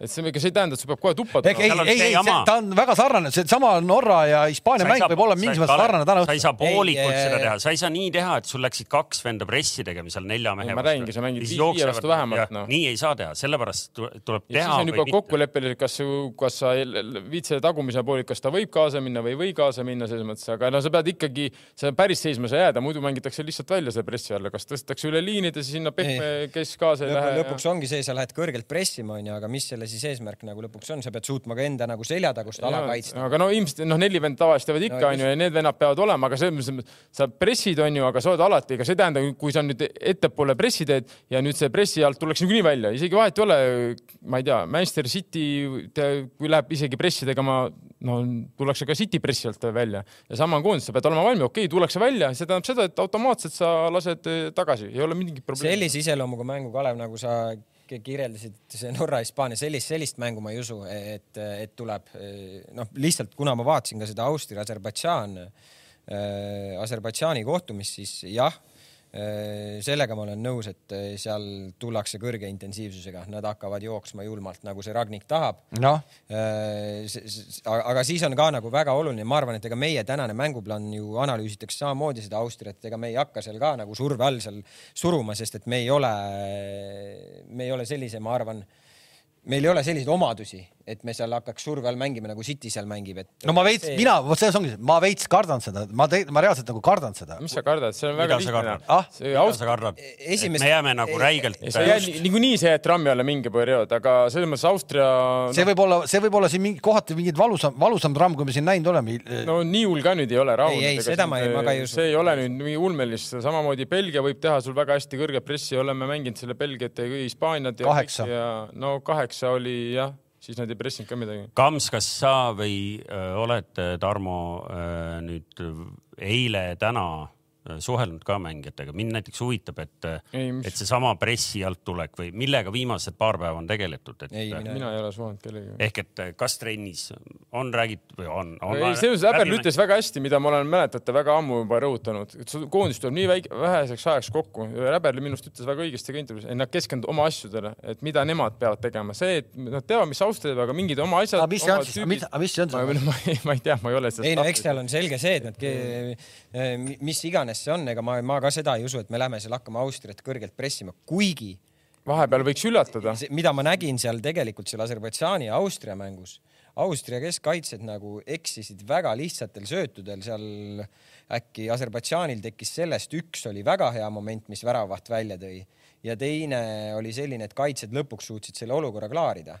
et see , ega see ei tähenda , et sa pead kohe tuppa ehk ei tulema . Seal , on ei , see ei , jama. ta on väga sarnane , seesama Norra ja Hispaania mäng võib olla mingis mõttes sarnane täna sa ei õhtul . saa poolikut Ei, ei, seda ei. teha , sa ei saa nii teha , et sul läksid kaks venda pressi tegema seal nelja mehe Ei, ma räägingi, sa mängid Siis viis- viie jooksevad- vastu vähemalt, jah, noh. nii ei saa teha , sellepärast tu- tuleb ja teha siis on juba kokkuleppeliselt , kas , kas sa el- el- viid selle tagumise pooli , kas ta võib kaasa minna või ei või kaasa minna selles mõttes , aga no sa pead ikkagi , sa päris seisma ei saa jääda , muidu mängitakse lihtsalt välja selle pressi alla , kas tõstetakse üle liinide , siis sinna pehme , kes kaasa ei lähe . lõpuks ongi see , sa lähed kõrgelt pressima , onju , aga mis selle siis eesmärk nagu lõpuks on , sa pead suutma ka enda nagu seljatagust ala kaitsta . aga no ilmselt noh , neli vend tavaliselt teevad ikka No, onju ja need vennad peavad olema , aga selles mõttes , et sa pressid onju , aga sa oled alati , ega see ei tähenda , kui sa nüüd ettepoole pressi teed ja nüüd see pressi alt tuleks niikuinii välja , isegi vahet ei ole , ma ei tea , Manchester City , kui läheb isegi pressi tegema , no tullakse ka City pressi alt välja ja sama on koondis , sa pead olema valmis , okei okay, , tullakse välja , see tähendab seda , et automaatselt sa lased eh, tagasi , ei ole mingit probleemi . sellise iseloomuga mängu , Kalev , nagu sa ki- kirjeldasid , see Norra-Hispaania , sellist , sellist mängu ma ei usu , et , et tuleb . noh , lihtsalt kuna ma vaatasin ka seda Austria-Aserbaidžaan , Aserbaidžaani kohtumist , siis jah , sellega ma olen nõus , et eh, seal tullakse kõrge intensiivsusega , nad hakkavad jooksma julmalt , nagu see Ragnik tahab noh , See- see- aga aga siis on ka nagu väga oluline , ma arvan , et ega meie tänane mänguplaan ju analüüsitakse samamoodi seda Austriat , ega me ei hakka seal ka nagu surve all seal suruma , sest et me ei ole , me ei ole sellise , ma arvan , meil ei ole selliseid omadusi , et me seal hakkaks surve all mängima nagu City seal mängib , et . no ma veits , mina , vot selles ongi , ma veits kardan seda , ma tegelikult , ma reaalselt nagu kardan seda . mis sa kardad , see on Mida väga sa lihtne kardad? . Ah, see e- mida Aust- sa kardad , et Esimest- me jääme nagu ei- räigelt . ei , sa jääd ni- niikuinii sa jääd trammi alla mingi periood , aga selles mõttes Austria noh, see võib olla , see võib olla siin mingi kohati mingi valusam , valusam tramm , kui me siin näinud oleme . no nii hull ka nüüd ei ole , rahul . Ei, ei, seda ma ei- ma ka ei usu. see ei ole nüüd nii ulmelist , samamoodi Belgia võib teha sul väga hästi kõrge pressi , oleme mänginud selle Belgiat ja Hispaaniat ja . Kaheksa. ja no kaheksa oli jah , siis nad ei pressinud ka midagi . Kams , kas sa või öö, oled , Tarmo , nüüd äh, eile , täna öö, suhelnud ka mängijatega , mind näiteks huvitab , et , Ei, mis- et seesama pressi alt tulek või millega viimased paar päeva on tegeletud , et äh, Ei, mina- mina ei ole suhelnud kellegagi . ehk et äh, kas trennis on räägitud või on, on ? ei , selles mõttes Äberl ütles väga hästi , mida ma olen , mäletate , väga ammu juba rõhutanud , et sul koondis tuleb nii väike , väheseks ajaks kokku . Äberl minu arust ütles väga õigesti ka intervjuus , et nad keskenduvad oma asjadele , et mida nemad peavad tegema , see , et nad teavad , mis Austria teeb , aga mingid oma asjad . aga mis see on siis , mis see on ma, siis ? ma, ei- ma ei tea , ma ei ole ei sellest no eks seal on selge see , et nad , mis iganes see on , ega ma , ma ka seda ei usu , et me lähme seal hakkame Austriat kõrgelt pressima , kuigi vahepeal võiks üllatada . see , mida ma nägin seal tegelikult seal Aserbaidžaani ja Austria mängus , Austria keskkaitsjad nagu eksisid väga lihtsatel söötudel , seal äkki Aserbaidžaanil tekkis sellest üks oli väga hea moment , mis väravaht välja tõi ja teine oli selline , et kaitsjad lõpuks suutsid selle olukorra klaarida .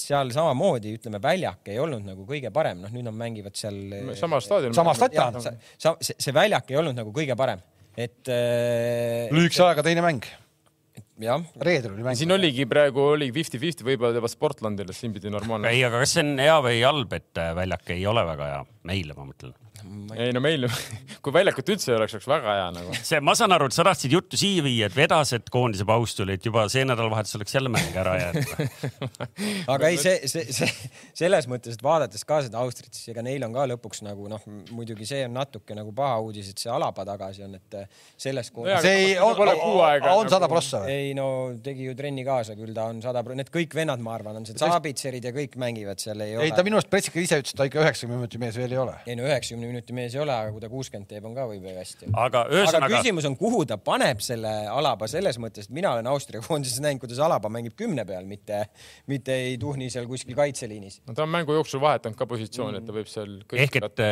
seal samamoodi , ütleme , väljak ei olnud nagu kõige parem , noh , nüüd nad mängivad seal . samas staadionil . Samas staadionil. jah , sa , see, see väljak ei olnud nagu kõige parem , et . lühikese ajaga teine mäng , jah , reedel oli mäng . siin oligi praegu oli fifty-fifty , võib-olla teevad Sportlandile , siin pidi normaalne . ei , aga kas see on hea või halb , et äh, väljak ei ole väga hea , meile ma mõtlen . ei no meil , kui väljakut üldse ei oleks , oleks väga hea nagu . see , ma saan aru , et sa tahtsid juttu siia viia , et vedas , et koondise paus tuli , et juba see nädalavahetus oleks jälle mäng ära jäänud . aga ei , see , see , see selles mõttes , et vaadates ka seda Austrit , siis ega neil on ka lõpuks nagu noh , muidugi see on natuke nagu paha uudis , et see Alaba tagasi on , et selles koondis Jaa, see ei , on, Pole kuu aega on sada nagu- prossa või ? ei no tegi ju trenni kaasa , küll ta on sada , need kõik vennad , ma arvan , on see Zabitserid ja kõik mängivad seal ei ei , ta ole . minu arust Pretsik ise ütles , et ta ikka üheksakümne minuti mees veel ei ole . ei no üheksakümne minuti mees ei ole , aga kui ta kuuskümmend teeb , on ka võib-olla hästi . aga aga ühesõnaga . küsimus on , kuhu ta paneb selle Alaba selles mõttes , et mina olen Austria koondises näinud , kuidas Alaba mängib kümne peal , mitte , mitte ei tuhni seal kuskil kaitseliinis . no ta on mängu jooksul vahetanud ka positsiooni , et ta võib seal . ehk et ,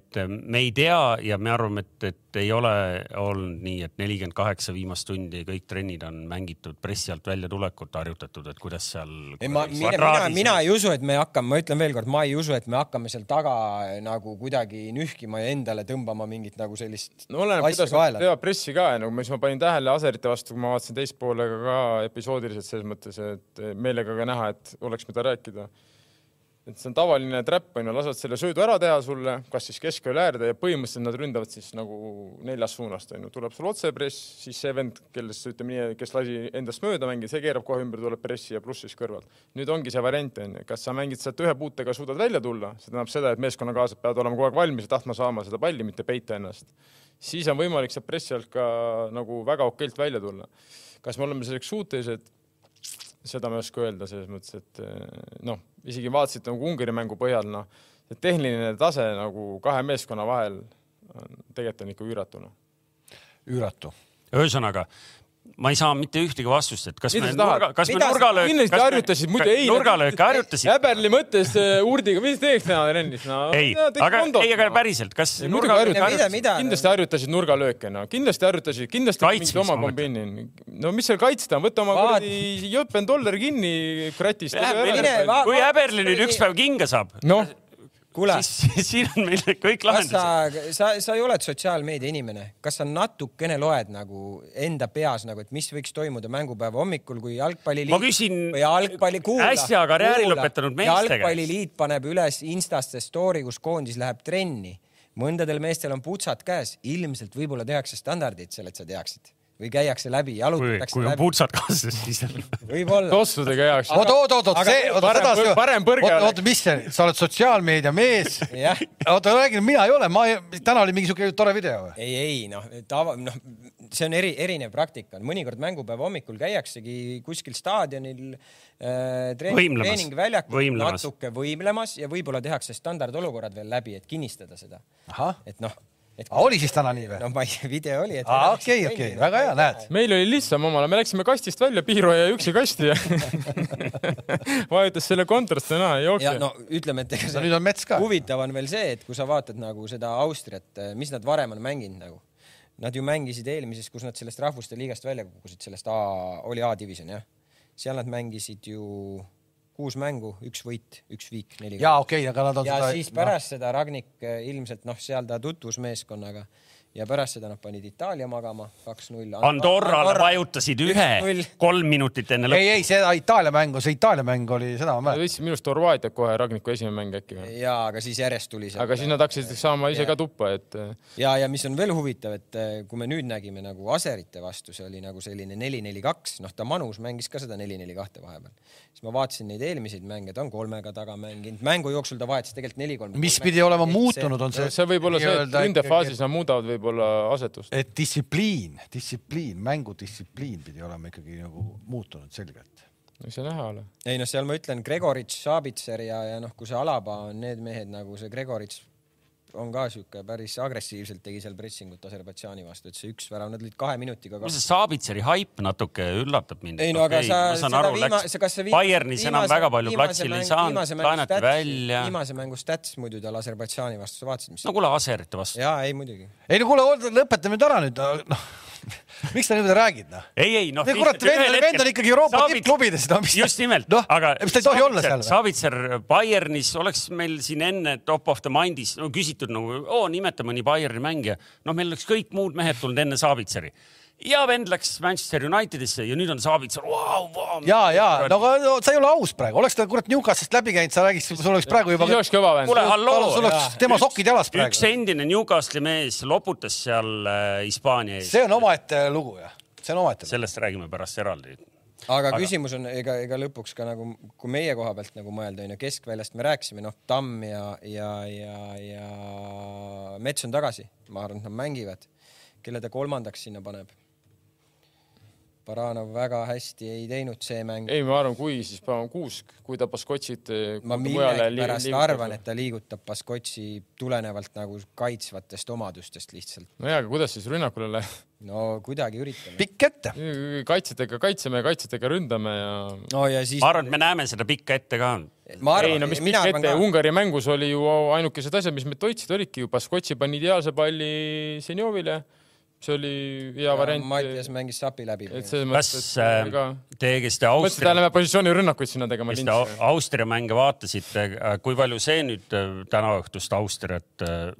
et me ei tea ja me arvame , et , et ei ole olnud nii , et nelikümmend kaheksa viimast tundi kõik trennid on mängitud pressi alt väljatulekut harjutatud , et kuidas seal . ei , ma , mina , mina , mina ei usu , et me hakkame , ma ütlen veelkord , ma ei usu , et me hakkame seal taga nagu kuidagi nühkima ja endale tõmbama mingit nagu sellist no oleneb , asja kuidas nad kaela . teevad pressi ka , nagu ma siis ma panin tähele Aserite vastu , kui ma vaatasin teist poolega ka episoodiliselt selles mõttes , et meelega ka näha , et oleks mida rääkida . et see on tavaline trap onju , lasevad selle söödu ära teha sulle , kas siis kesk või läärde ja põhimõtteliselt nad ründavad siis nagu neljast suunast onju , tuleb sul otsepress , siis see vend , kellest ütleme nii , kes lasi endast mööda mängida , see keerab kohe ümber , tuleb pressi ja pluss siis kõrvalt . nüüd ongi see variant onju , kas sa mängid sealt ühe puutega , suudad välja tulla , see tähendab seda , et meeskonnakaaslased peavad olema kogu aeg valmis ja tahtma saama seda palli , mitte peita ennast siis on võimalik sealt pressi alt ka nagu väga okeilt välja tulla . kas me oleme selleks suutelised ? seda ma ei oska öelda selles mõttes , et eh, noh , isegi vaatasid nagu Ungari mängu põhjal , noh , see tehniline tase nagu kahe meeskonna vahel on- tegelikult on ikka üüratu , noh . üüratu . ühesõnaga , ma ei saa mitte ühtegi vastust , et kas mida me sa tahad nurga ,? kas me kindlasti nurgalöök harjutasid , muidu ei . nurgalööke harjutasid ? häberli mõttes eh, Urdiga , mis teeks täna trennis , no . ei , aga ei , aga päriselt , kas Ei, muidugi nurgalööke harjutasid. harjutasid ? mida , mida ? kindlasti harjutasid nurgalööke , no kindlasti harjutasid , kindlasti Kaitsmist mingi oma ma mõtlen. kombini . no mis seal kaitsta , võta oma Vaat- kuradi jõpen dollar kinni kratist . mine va- kui häberli nüüd üks päev kinga saab , noh , kuule , siis siin on meil kõik kas sa lahendused ., sa , sa ei ole sotsiaalmeedia inimene , kas sa natukene loed nagu enda peas nagu , et mis võiks toimuda mängupäeva hommikul , kui jalgpalliliit Ma küsin või jalgpalli , kuula , äsja karjääri lõpetanud meeste käest. jalgpalliliit paneb üles Instasse story , kus koondis läheb trenni . mõndadel meestel on putsad käes , ilmselt võib-olla tehakse standardid seal , et sa teaksid või käiakse läbi , kui , jalutatakse kui on läbi , putsad kaasas , siis on . võib-olla . tossudega heaks . oot , oot , oot , oot , Aga see , oot , parem- oot , parem põrge oot , oleks. oot , mis see , sa oled sotsiaalmeedia mees . jah oota , räägi , mina ei ole , ma , täna oli mingi siuke tore video või ? ei , ei noh , tava , noh , see on eri , erinev praktika , mõnikord mängupäeva hommikul käiaksegi kuskil staadionil äh, treen- Võimlemas. treeningväljakul Võimlemas. natuke võimlemas ja võib-olla tehakse standardolukorrad veel läbi , et kinnistada seda . ahah , et noh , et Ah, oli siis täna nii või ? no ma ei , video oli , et . aa , okei , okei , väga hea , näed . meil oli lihtsam omal ajal , me läksime kastist välja , piiruja ja üksikasti ja vajutas selle kontrast täna , ei ja jookse . no ütleme , et ega No nüüd on mets ka. huvitav on veel see , et kui sa vaatad nagu seda Austriat , mis nad varem on mänginud nagu . Nad ju mängisid eelmises , kus nad sellest rahvuste liigast välja kukkusid , sellest A , oli A-divisjon jah . seal nad mängisid ju kuus mängu , üks võit , üks viik , neli . jaa , okei , aga nad on noh. ja siis . pärast seda Ragnik eh, ilmselt noh , seal ta tutvus meeskonnaga ja pärast seda nad panid Itaalia magama kaks-null . Andorrale vajutasid ühe Üks-null. , kolm minutit enne Noh. ei lõppu ., ei , see Itaalia mäng , see Itaalia mäng oli , seda ma Nad mäletan . võtsid minu arust Horvaatiat kohe , Ragniku esimene mäng äkki või ? ja , aga siis järjest tuli see . aga siis nad hakkasid saama ise ka tuppa , et eh, ja , ja mis on veel huvitav , et eh, kui me nüüd nägime nagu Aserite vastu , see oli nagu selline neli-neli-kaks , noh , ta Manus mängis ka seda neli-neli-kahte vahepeal , siis ma vaatasin neid eelmiseid mänge , ta on kolmega taga mänginud , mängu jooksul ta vahetas tegelikult neli-kolm . mis pidi olema muutunud , on see . see võib olla see , et ründefaasis nad muudavad võib-olla asetust . et distsipliin , distsipliin , mängudistsipliin pidi olema ikkagi nagu muutunud selgelt . eks see näha ole . ei noh , seal ma ütlen , Gregoritš , Sabitser ja , ja noh , kui see Alaba on need mehed nagu see Gregoritš on ka sihuke päris agressiivselt tegi seal pressingut Aserbaidžaani vastu , et see üks värav , nad olid kahe minutiga . see Saabitseri haip natuke üllatab mind . ei no aga sa , ma saan aru , läks Bayernis enam väga palju platsile ei saanud , laenati välja . viimase mängu stats muidu tal Aserbaidžaani vastu , sa vaatasid , mis no kuule , Aserite vastu . jaa , ei muidugi . ei no kuule , lõpetame nüüd ära nüüd , noh . miks sa niimoodi räägid , noh ? ei , ei noh . Ei, kurat, vend- vend on ikkagi Euroopa tippklubides, no mis ta- just nimelt , noh, aga . mis ta ei tohi olla seal või? Savitser Bayernis oleks meil siin enne top of the mind'is no, küsitud nagu , oo , nimeta mõni Bayerni mängija . no meil oleks kõik muud mehed tulnud enne Savitseri . ja vend läks Manchester Unitedisse ja nüüd on Savitser , vau , vau . ja , ja , no aga no, sa ei ole aus praegu , oleks ta kurat Newcastist läbi käinud , sa räägiks , sul oleks praegu juba siis . oleks kõva kuule , vend . halloo . sul oleks tema sokid jalas praegu. üks endine Newcastle'i mees loputas seal äh, Hispaania ees . see on omaette lugu ja , see on omaette lugu . sellest räägime pärast eraldi . aga küsimus on , ega , ega lõpuks ka nagu , kui meie koha pealt nagu mõelda , onju , keskväljast me rääkisime , noh , Tamm ja , ja , ja , ja Mets on tagasi , ma arvan , et nad mängivad . kelle ta kolmandaks sinna paneb ? Baranov väga hästi ei teinud see mäng . ei , ma arvan , kui , siis paneme kuusk , kui ta eh, Baskotšit . ma millegipärast arvan , et ta liigutab Baskotši tulenevalt nagu kaitsvatest omadustest lihtsalt . no jaa , aga kuidas siis rünnakule läheb ? no kuidagi üritame . pikk ette . kaitsjatega kaitseme , kaitsjatega ründame ja . no ja siis ma . arvan , et me näeme seda pikka ette ka . ma ei no mis pikk ette , Ungari mängus oli ju ainukesed asjad , mis meid toitsid , olidki ju Baskotši pani ideaalse palli Senjovile . see oli hea variant . Mattias mängis sapi läbi . et selles kas mõttes , äh, et ka . te , kes te mõtlesin , et Austria , lähme positsioonirünnakuid sinna tegema . kes te Au- Austria mänge vaatasite , kui palju see nüüd äh, tänaõhtust Austriat äh,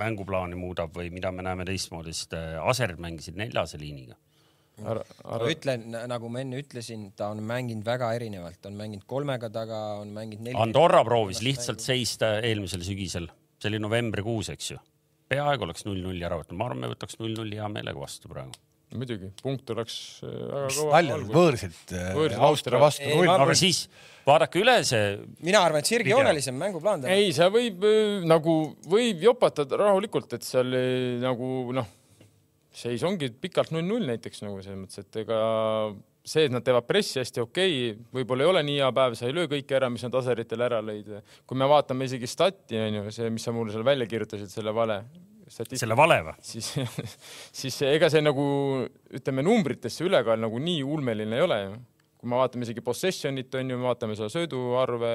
mänguplaani muudab või mida me näeme teistmoodi , sest äh, Aserid mängisid neljase liiniga . ma ütlen , nagu ma enne ütlesin , ta on mänginud väga erinevalt , on mänginud kolmega taga , on mänginud neli . Andorra proovis lihtsalt seista äh, eelmisel sügisel , see oli novembrikuus , eks ju . peaaegu oleks null-nulli ära võtnud , ma arvan , me võtaks null-nulli hea meelega vastu praegu . muidugi , punkt oleks äh, väga nalja , kõva . võõrsilt äh, Võõrsilt Austria vastu Ei, null ma- . aga siis vaadake üle see , mina arvan , et sirgjoonelisem mänguplaan täna . ei , see võib äh, nagu , võib jopatada rahulikult , et seal äh, nagu noh , seis ongi pikalt null-null näiteks nagu selles mõttes , et ega see , et nad teevad pressi hästi okei okay, , võib-olla ei ole nii hea päev , sa ei löö kõike ära , mis nad aseritel ära lõid . kui me vaatame isegi stati onju , see , mis sa mulle seal välja kirjutasid , selle vale . selle vale või ? siis , siis ega see nagu ütleme numbritesse ülekaal nagu nii ulmeline ei ole ju . kui me vaatame isegi possession'it on ju , me vaatame seda sööduarve ,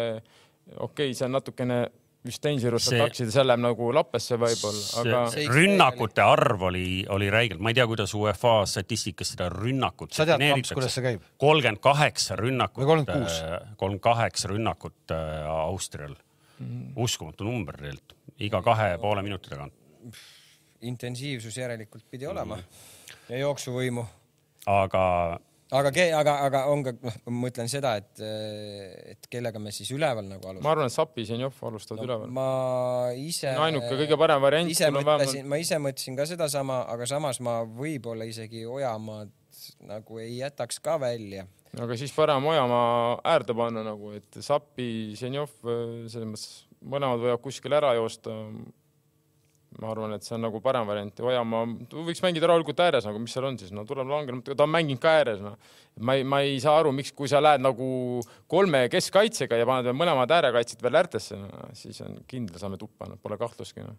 okei okay, , see on natukene vist Dangerous See- see... Attacks'i , seal läheb nagu lappesse võib-olla , aga See- rünnakute arv oli , oli räigelt , ma ei tea , kuidas UEFA statistikas seda rünnakut . Sa tead, Kamps, kuidas see käib? ? kolmkümmend kaheksa rünnakut . Või 36? ? kolmkümmend kaheksa rünnakut äh, Austrial . Mm. uskumatu number tegelikult , iga kahe ja poole minuti tagant . intensiivsus järelikult pidi Mm. olema ja jooksuvõimu aga aga , aga , aga on ka , noh , ma mõtlen seda , et , et kellega me siis üleval nagu alustame . ma arvan , et Sapis ja Njov alustavad no, üleval . ma ise . See on ainuke kõige parem variant, ise sul on vähemalt- mõtlesin , ma ise mõtlesin ka sedasama , aga samas ma võib-olla isegi Ojamaad nagu ei jätaks ka välja . aga siis parem Ojamaa äärde panna nagu , et Sapi , Ženjov selles mõttes mõlemad võivad kuskil ära joosta . ma arvan , et see on nagu parem variant ja Ojamaa võiks mängida rahulikult ääres , nagu mis seal on siis , no tuleb langenud , ta on mänginud ka ääres , noh . ma ei , ma ei saa aru , miks , kui sa lähed nagu kolme keskkaitsega ja paned veel mõlemad äärekaitsjad veel äärtesse no, , siis on kindla saame tuppa , no pole kahtlustki no. .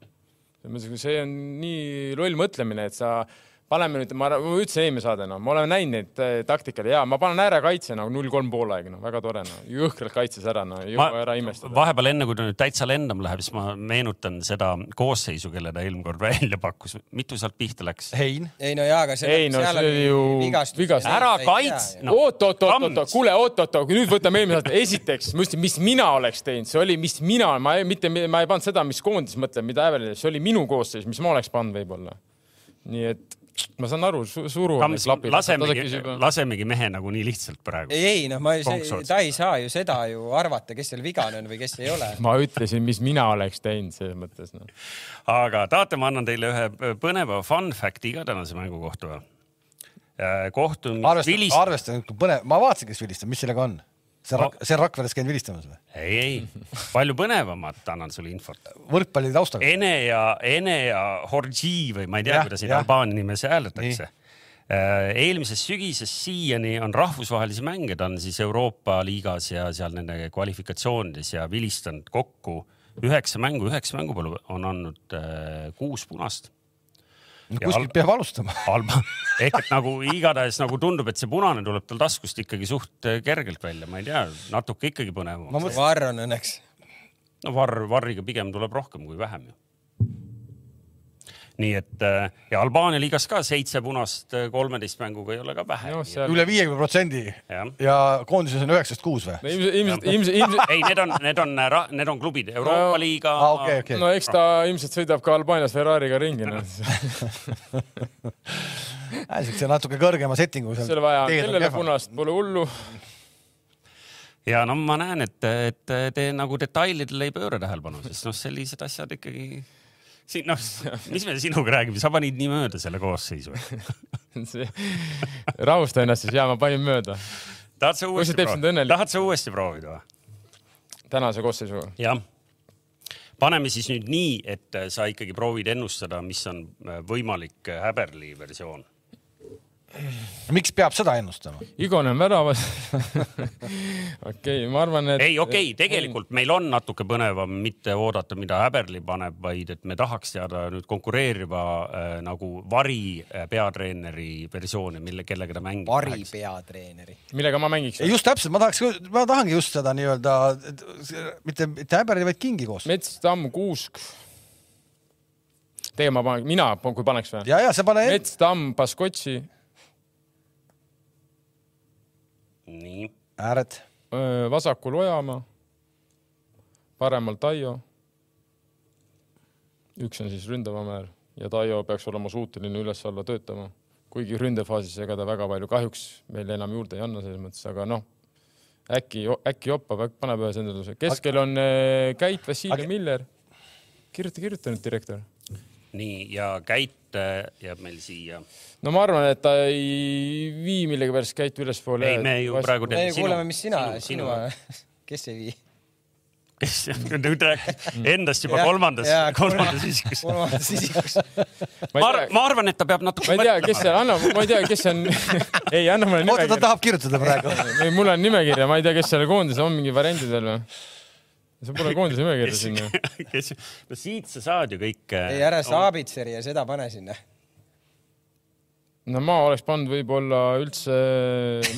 selles mõttes , kui see on nii loll mõtlemine , et sa paneme nüüd , ma arvan- ma ütlesin eelmine saade , no ma olen näinud neid eh, taktikaid ja ma panen äärekaitse nagu null kolm poolaeg , noh , väga tore , noh , jõhkralt kaitses ära , no ei ma jõua ära imestada . vahepeal enne , kui ta nüüd täitsa lendama läheb , siis ma meenutan seda koosseisu , kelle ta eelmine kord välja pakkus . mitu sealt pihta läks ? hein , ei no jaa , aga seal . Ei no see oli ju vigastus. ära Noh, kaits- no, oot-oot-oot-oot , Kams. kuule , oot-oot-oot , nüüd võtame eelmise aasta , esiteks ma ütlesin , mis mina oleks teinud , see oli , mis mina , ma ei, mitte , ma ei pannud seda , mis koondis mõtleb , mida Evelyn , see oli minu koosseis , mis ma oleks pannud võib-olla . nii et ma saan aru su , suru . Kams , lasemegi , lasemegi mehe nagu nii lihtsalt praegu . ei , ei noh , ma ei , Konksolts. ta ei saa ju seda ju arvata , kes seal vigane on või kes ei ole . ma ütlesin , mis mina oleks teinud selles mõttes noh. no. . aga tahate , ma annan teile ühe äh, põneva fun fact'i ka tänase mängu kohta või ? kohtun arvestanud , Vilist- , arvestanud , põnev , ma vaatasin , kes vilistab , mis sellega on . see on Rak- , see on Rakveres käinud vilistamas või ? ei , ei , palju põnevamat annan sulle infot . võrkpalli taustaga . Ene ja , Ene ja Horgi või ma ei tea Jah, , kuidas neid jah. albaani nimesi hääldatakse . eelmisest sügisest siiani on rahvusvahelisi mänge , ta on siis Euroopa liigas ja seal nende kvalifikatsioonides ja vilistanud kokku üheksa mängu , üheksa mängu peale on andnud eh, kuus punast kuskilt peab alustama . halba . ehk et nagu igatahes nagu tundub , et see punane tuleb tal taskust ikkagi suht äh, kergelt välja , ma ei tea , natuke ikkagi põnevam . mõtlesin- Varr on õnneks . no varr , varriga pigem tuleb rohkem kui vähem ju . nii et äh, ja Albaania liigas ka seitse punast äh, kolmeteist mänguga ei ole ka vähe Noh, . seal- üle viiekümne protsendi Jah. ja koondises on üheksast kuus või ? no ilmselt , ilmselt , ilmselt , ilmselt , ei , need on , need on , need on klubid , Euroopa No- liiga aa , Ah, okei , okei . no eks ta ilmselt sõidab ka Albaanias Ferrari'ga ringi noh. no. . niisuguse natuke kõrgema settingu seal . selle vaja , kellele ? punast , pole hullu . ja no ma näen , et , et te nagu detailidele ei pööra tähelepanu , sest noh , sellised asjad ikkagi siin noh , mis me sinuga räägime , sa panid nii mööda selle koosseisu . rahusta ennast siis ja ma panin mööda tahad sa Või uuesti see teeb sind proovida ? õnnelikuks? tahad sa uuesti proovida või ? tänase koosseisuga . jah . paneme siis nüüd nii , et äh, sa ikkagi proovid ennustada , mis on äh, võimalik häberli versioon . miks peab seda ennustama ? Igonen väravas . okei , ma arvan , et . ei , okei okay, , tegelikult meil on natuke põnevam mitte oodata , mida häberli paneb , vaid et me tahaks teada nüüd konkureeriva äh, nagu vari äh, peatreeneri versiooni , mille , kellega ta mängib . Varri . peatreeneri . millega ma mängiks ? just täpselt , ma tahaks , ma tahangi just seda nii-öelda et- mitte , mitte häberi , vaid kingi koos . mets , tamm , kuusk . tegelikult ma panen , mina , kui paneks või ? ja , ja sa pane , mets , tamm , Baskotši , nii , ääred , vasakul Ojamaa , paremal Taio . üks on siis ründavam äär ja Taio peaks olema suuteline üles-alla töötama , kuigi ründefaasis ega ta väga palju kahjuks meile enam juurde ei anna selles mõttes , aga noh , äkki , äkki joppab , äkki paneb ühe senduse . keskel on äh, Käit , Vassiljev Aga- , Miller . kirjuta , kirjuta nüüd , direktor nii ja Käit äh, jääb meil siia . no ma arvan , et ta ei vii millegipärast käitu ülespoole . ei , me ju praegu me teeme ju kuuleme , mis sina , sinu, sinu. , kes ei vii . kes nüüd rääkis endast juba Jah, kolmandas jaa, , kolmandas isikus . kolmandas isikus . ma arvan , ma arvan , et ta peab natuke ma ei tea , kes see mõtlema . anna , ma ei tea , kes see on , ei anna mulle oota , ta nimekirja , tahab kirjutada praegu . ei mul on nimekirja , ma ei tea , kes selle koondise on , mingi variandid veel või ? see pole koondise nimekirja siin ju . kes , no siit sa saad ju kõik . äh, oh, ei ära saa abitseri ja seda pane sinna . no ma oleks pannud võib-olla üldse ,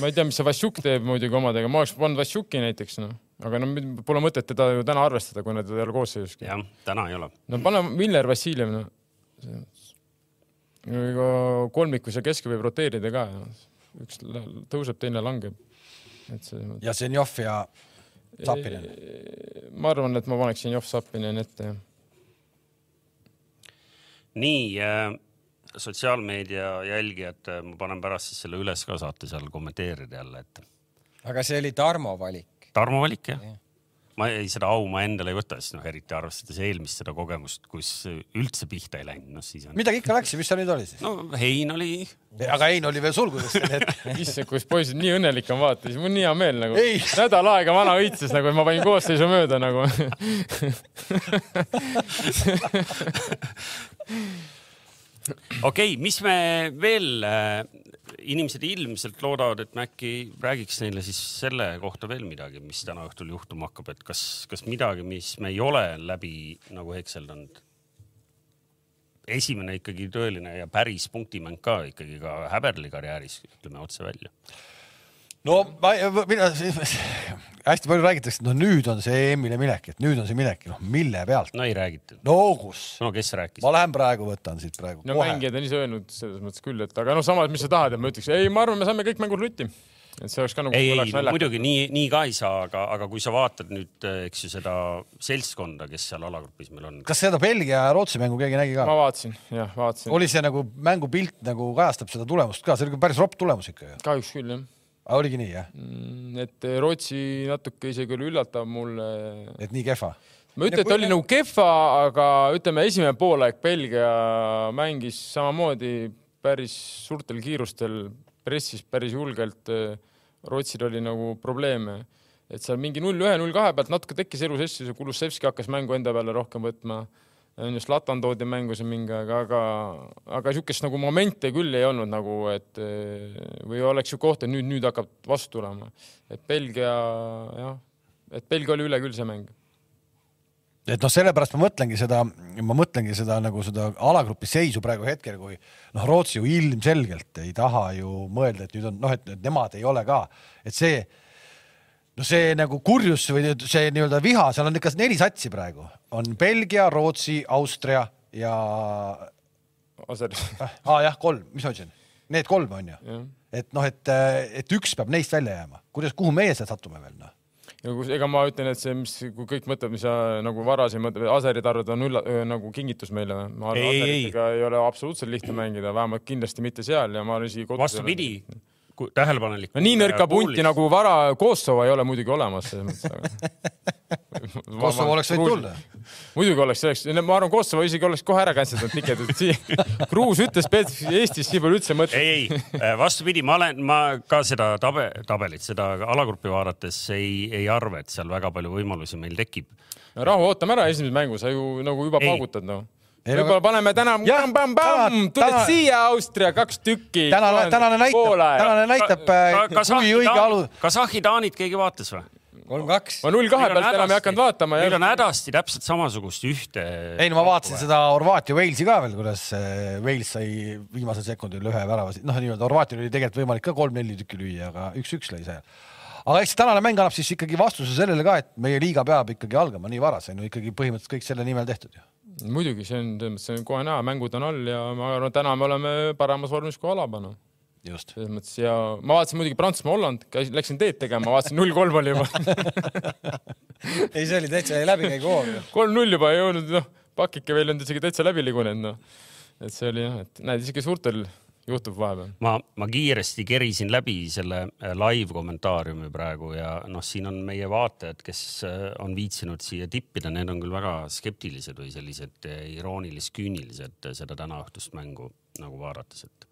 ma ei tea , mis see Vassiuk teeb muidugi omadega , ma oleks pannud Vassiuki näiteks noh , aga no mid- pole mõtet teda ju täna arvestada , kuna teda ei ole koosseisuski . jah , täna ei ole . no pane Miller Vassiljev noh . ega kolmikus ja keskel võib roteerida ka , üks lä- tõuseb , teine langeb . et see ja Zenjov ja Zapinen . ma arvan , et ma paneksin Jovsapinen ette , jah . nii äh, , sotsiaalmeedia jälgijad , ma panen pärast siis selle üles ka , saate seal kommenteerida jälle , et aga see oli Tarmo valik . Tarmo valik jah . ma ei , seda au ma endale ei võta , sest noh , eriti arvestades eelmist seda kogemust , kus üldse pihta ei läinud , noh siis on . midagi ikka läks ja mis seal nüüd oli siis ? no Hein oli , aga Hein oli veel sulgudes sel hetkel . issand , kus poisid nii õnnelik on vaata , siis mul nii hea meel nagu . Ei. nädal aega vana õitses nagu , ma panin koosseisu mööda nagu . okei okay, , mis me veel äh, , inimesed ilmselt loodavad , et me äkki räägiks neile siis selle kohta veel midagi , mis täna õhtul juhtuma hakkab , et kas , kas midagi , mis me ei ole läbi nagu hekseldanud ? esimene ikkagi tõeline ja päris punktimäng ka ikkagi ka Häberli karjääris , ütleme otse välja . no ma , mina , hästi palju räägitakse , no nüüd on see EM-ile minek , et nüüd on see minek , noh mille pealt ? no ei räägitud . no kus ? no kes rääkis ? ma lähen praegu võtan siit praegu no kohe . mängijad on ise öelnud selles mõttes küll , et aga noh , samas , mis sa tahad , et ma ütleks , ei , ma arvan , me saame kõik mängud lutti . et see oleks ka nagu . ei , ei no, . muidugi nii , nii ka ei saa , aga , aga kui sa vaatad nüüd , eks ju , seda seltskonda , kes seal alagrupis meil on . kas seda Belgia ja Rootsi mängu keegi nägi ka ? ma vaatasin , jah , vaatasin . oli see nagu mängupilt nagu kajastab seda tulemust ka , see oli ikka päris ropp tulemus ikka ju . kahjuks küll , jah . oligi nii jah , et Rootsi natuke isegi oli üllatav mulle et nii kehva ? ma ei ütle , et kui oli me- nagu kehva , aga ütleme , esimene poolaeg Belgia mängis samamoodi päris suurtel kiirustel , pressis päris julgelt . Rootsil oli nagu probleeme , et seal mingi null ühe , null kahe pealt natuke tekkis elu sisse , see Kulusevski hakkas mängu enda peale rohkem võtma . onju , Zlatan toodi mängu siin mingi aeg , aga , aga siukest nagu momente küll ei olnud nagu , et eh, või oleks siuke oht , et nüüd , nüüd hakkab vastu tulema . et Belgia jah , et Belgia oli üle küll see mäng et noh , sellepärast ma mõtlengi seda , ma mõtlengi seda nagu seda alagrupi seisu praegu hetkel , kui noh , Rootsi ju ilmselgelt ei taha ju mõelda , et nüüd on noh , et nemad ei ole ka , et see no see nagu kurjus või nüüd see nii-öelda viha , seal on ikka neli satsi praegu , on Belgia , Rootsi , Austria ja Aser . ah, jah , kolm , mis ma ütlesin , need kolm on ju Jah. , et noh , et , et üks peab neist välja jääma , kuidas , kuhu meie sealt satume veel noh ja kus , ega ma ütlen , et see , mis , kui kõik mõtleb , mis sa nagu varasemad aserid arvad , on ülla- , nagu kingitus meile . ma arvan , Ei, ei, ei. aseritega ei ole absoluutselt lihtne mängida , vähemalt kindlasti mitte seal ja ma olen isegi kodus . vastupidi , tähelepanelik . no nii nõrka punti . nagu vara Kosovo ei ole muidugi olemas selles mõttes aga... . Kosovo oleks võinud tulla. . muidugi oleks , oleks , ma arvan , Kosovo isegi oleks kohe ära kantseldanud tikedud siia . Gruus ütles , Eestis siin pole üldse mõtet . ei , ei vastupidi , ma olen , ma ka seda tabe, tabelit , seda alagrupi vaadates ei , ei arva , et seal väga palju võimalusi meil tekib . no rahu , ootame ära esimese mängu , sa ju nagu juba Ei. paugutad noh . Ei, võib-olla aga- paneme täna Jah, pamm-pamm-pamm täna- , tuled täna- siia Austria kaks tükki . tänane , tänane näitab , tänane Äh, näitab , kui õige alus , Kasahhi Taanit keegi vaatas või ? kolm-kaks . ma null kahe pealt enam ei hakanud vaatama meil jah . on hädasti täpselt samasugust ühte . ei no ma vaatasin seda Horvaatia Walesi ka veel , kuidas äh, Wales sai viimasel sekundil ühe värava , noh , nii-öelda Horvaatial oli tegelikult võimalik ka kolm-neli tükki lüüa , aga üks-üks lõi seal . aga eks tänane mäng annab siis ikkagi vastuse sellele ka , et meie liiga peab ikkagi algama nii vara , see on ju ikkagi põhimõtteliselt kõik selle nimel tehtud ju . muidugi , see on , selles mõttes on kohe näha , mängud on all ja ma arvan , et täna me oleme paremas vormis kui Alaba noh . just . selles mõttes ja ma vaatasin muidugi Prantsusmaa-Holland , käisin , läksin teed tegema , vaatasin null kolm oli juba ei , see oli täitsa läbikäigu hoov ju . kolm-null juba ei jõudnud , noh , pakike veel ei olnud isegi täitsa läbi ligunenud , noh . et see oli jah , et näed , isegi suurtel juhtub vahepeal . ma , ma kiiresti kerisin läbi selle äh, live kommentaariumi praegu ja noh , siin on meie vaatajad , kes äh, on viitsinud siia tippida , need on küll väga skeptilised või sellised äh, iroonilis-küünilised äh, seda tänaõhtust mängu nagu vaadates , et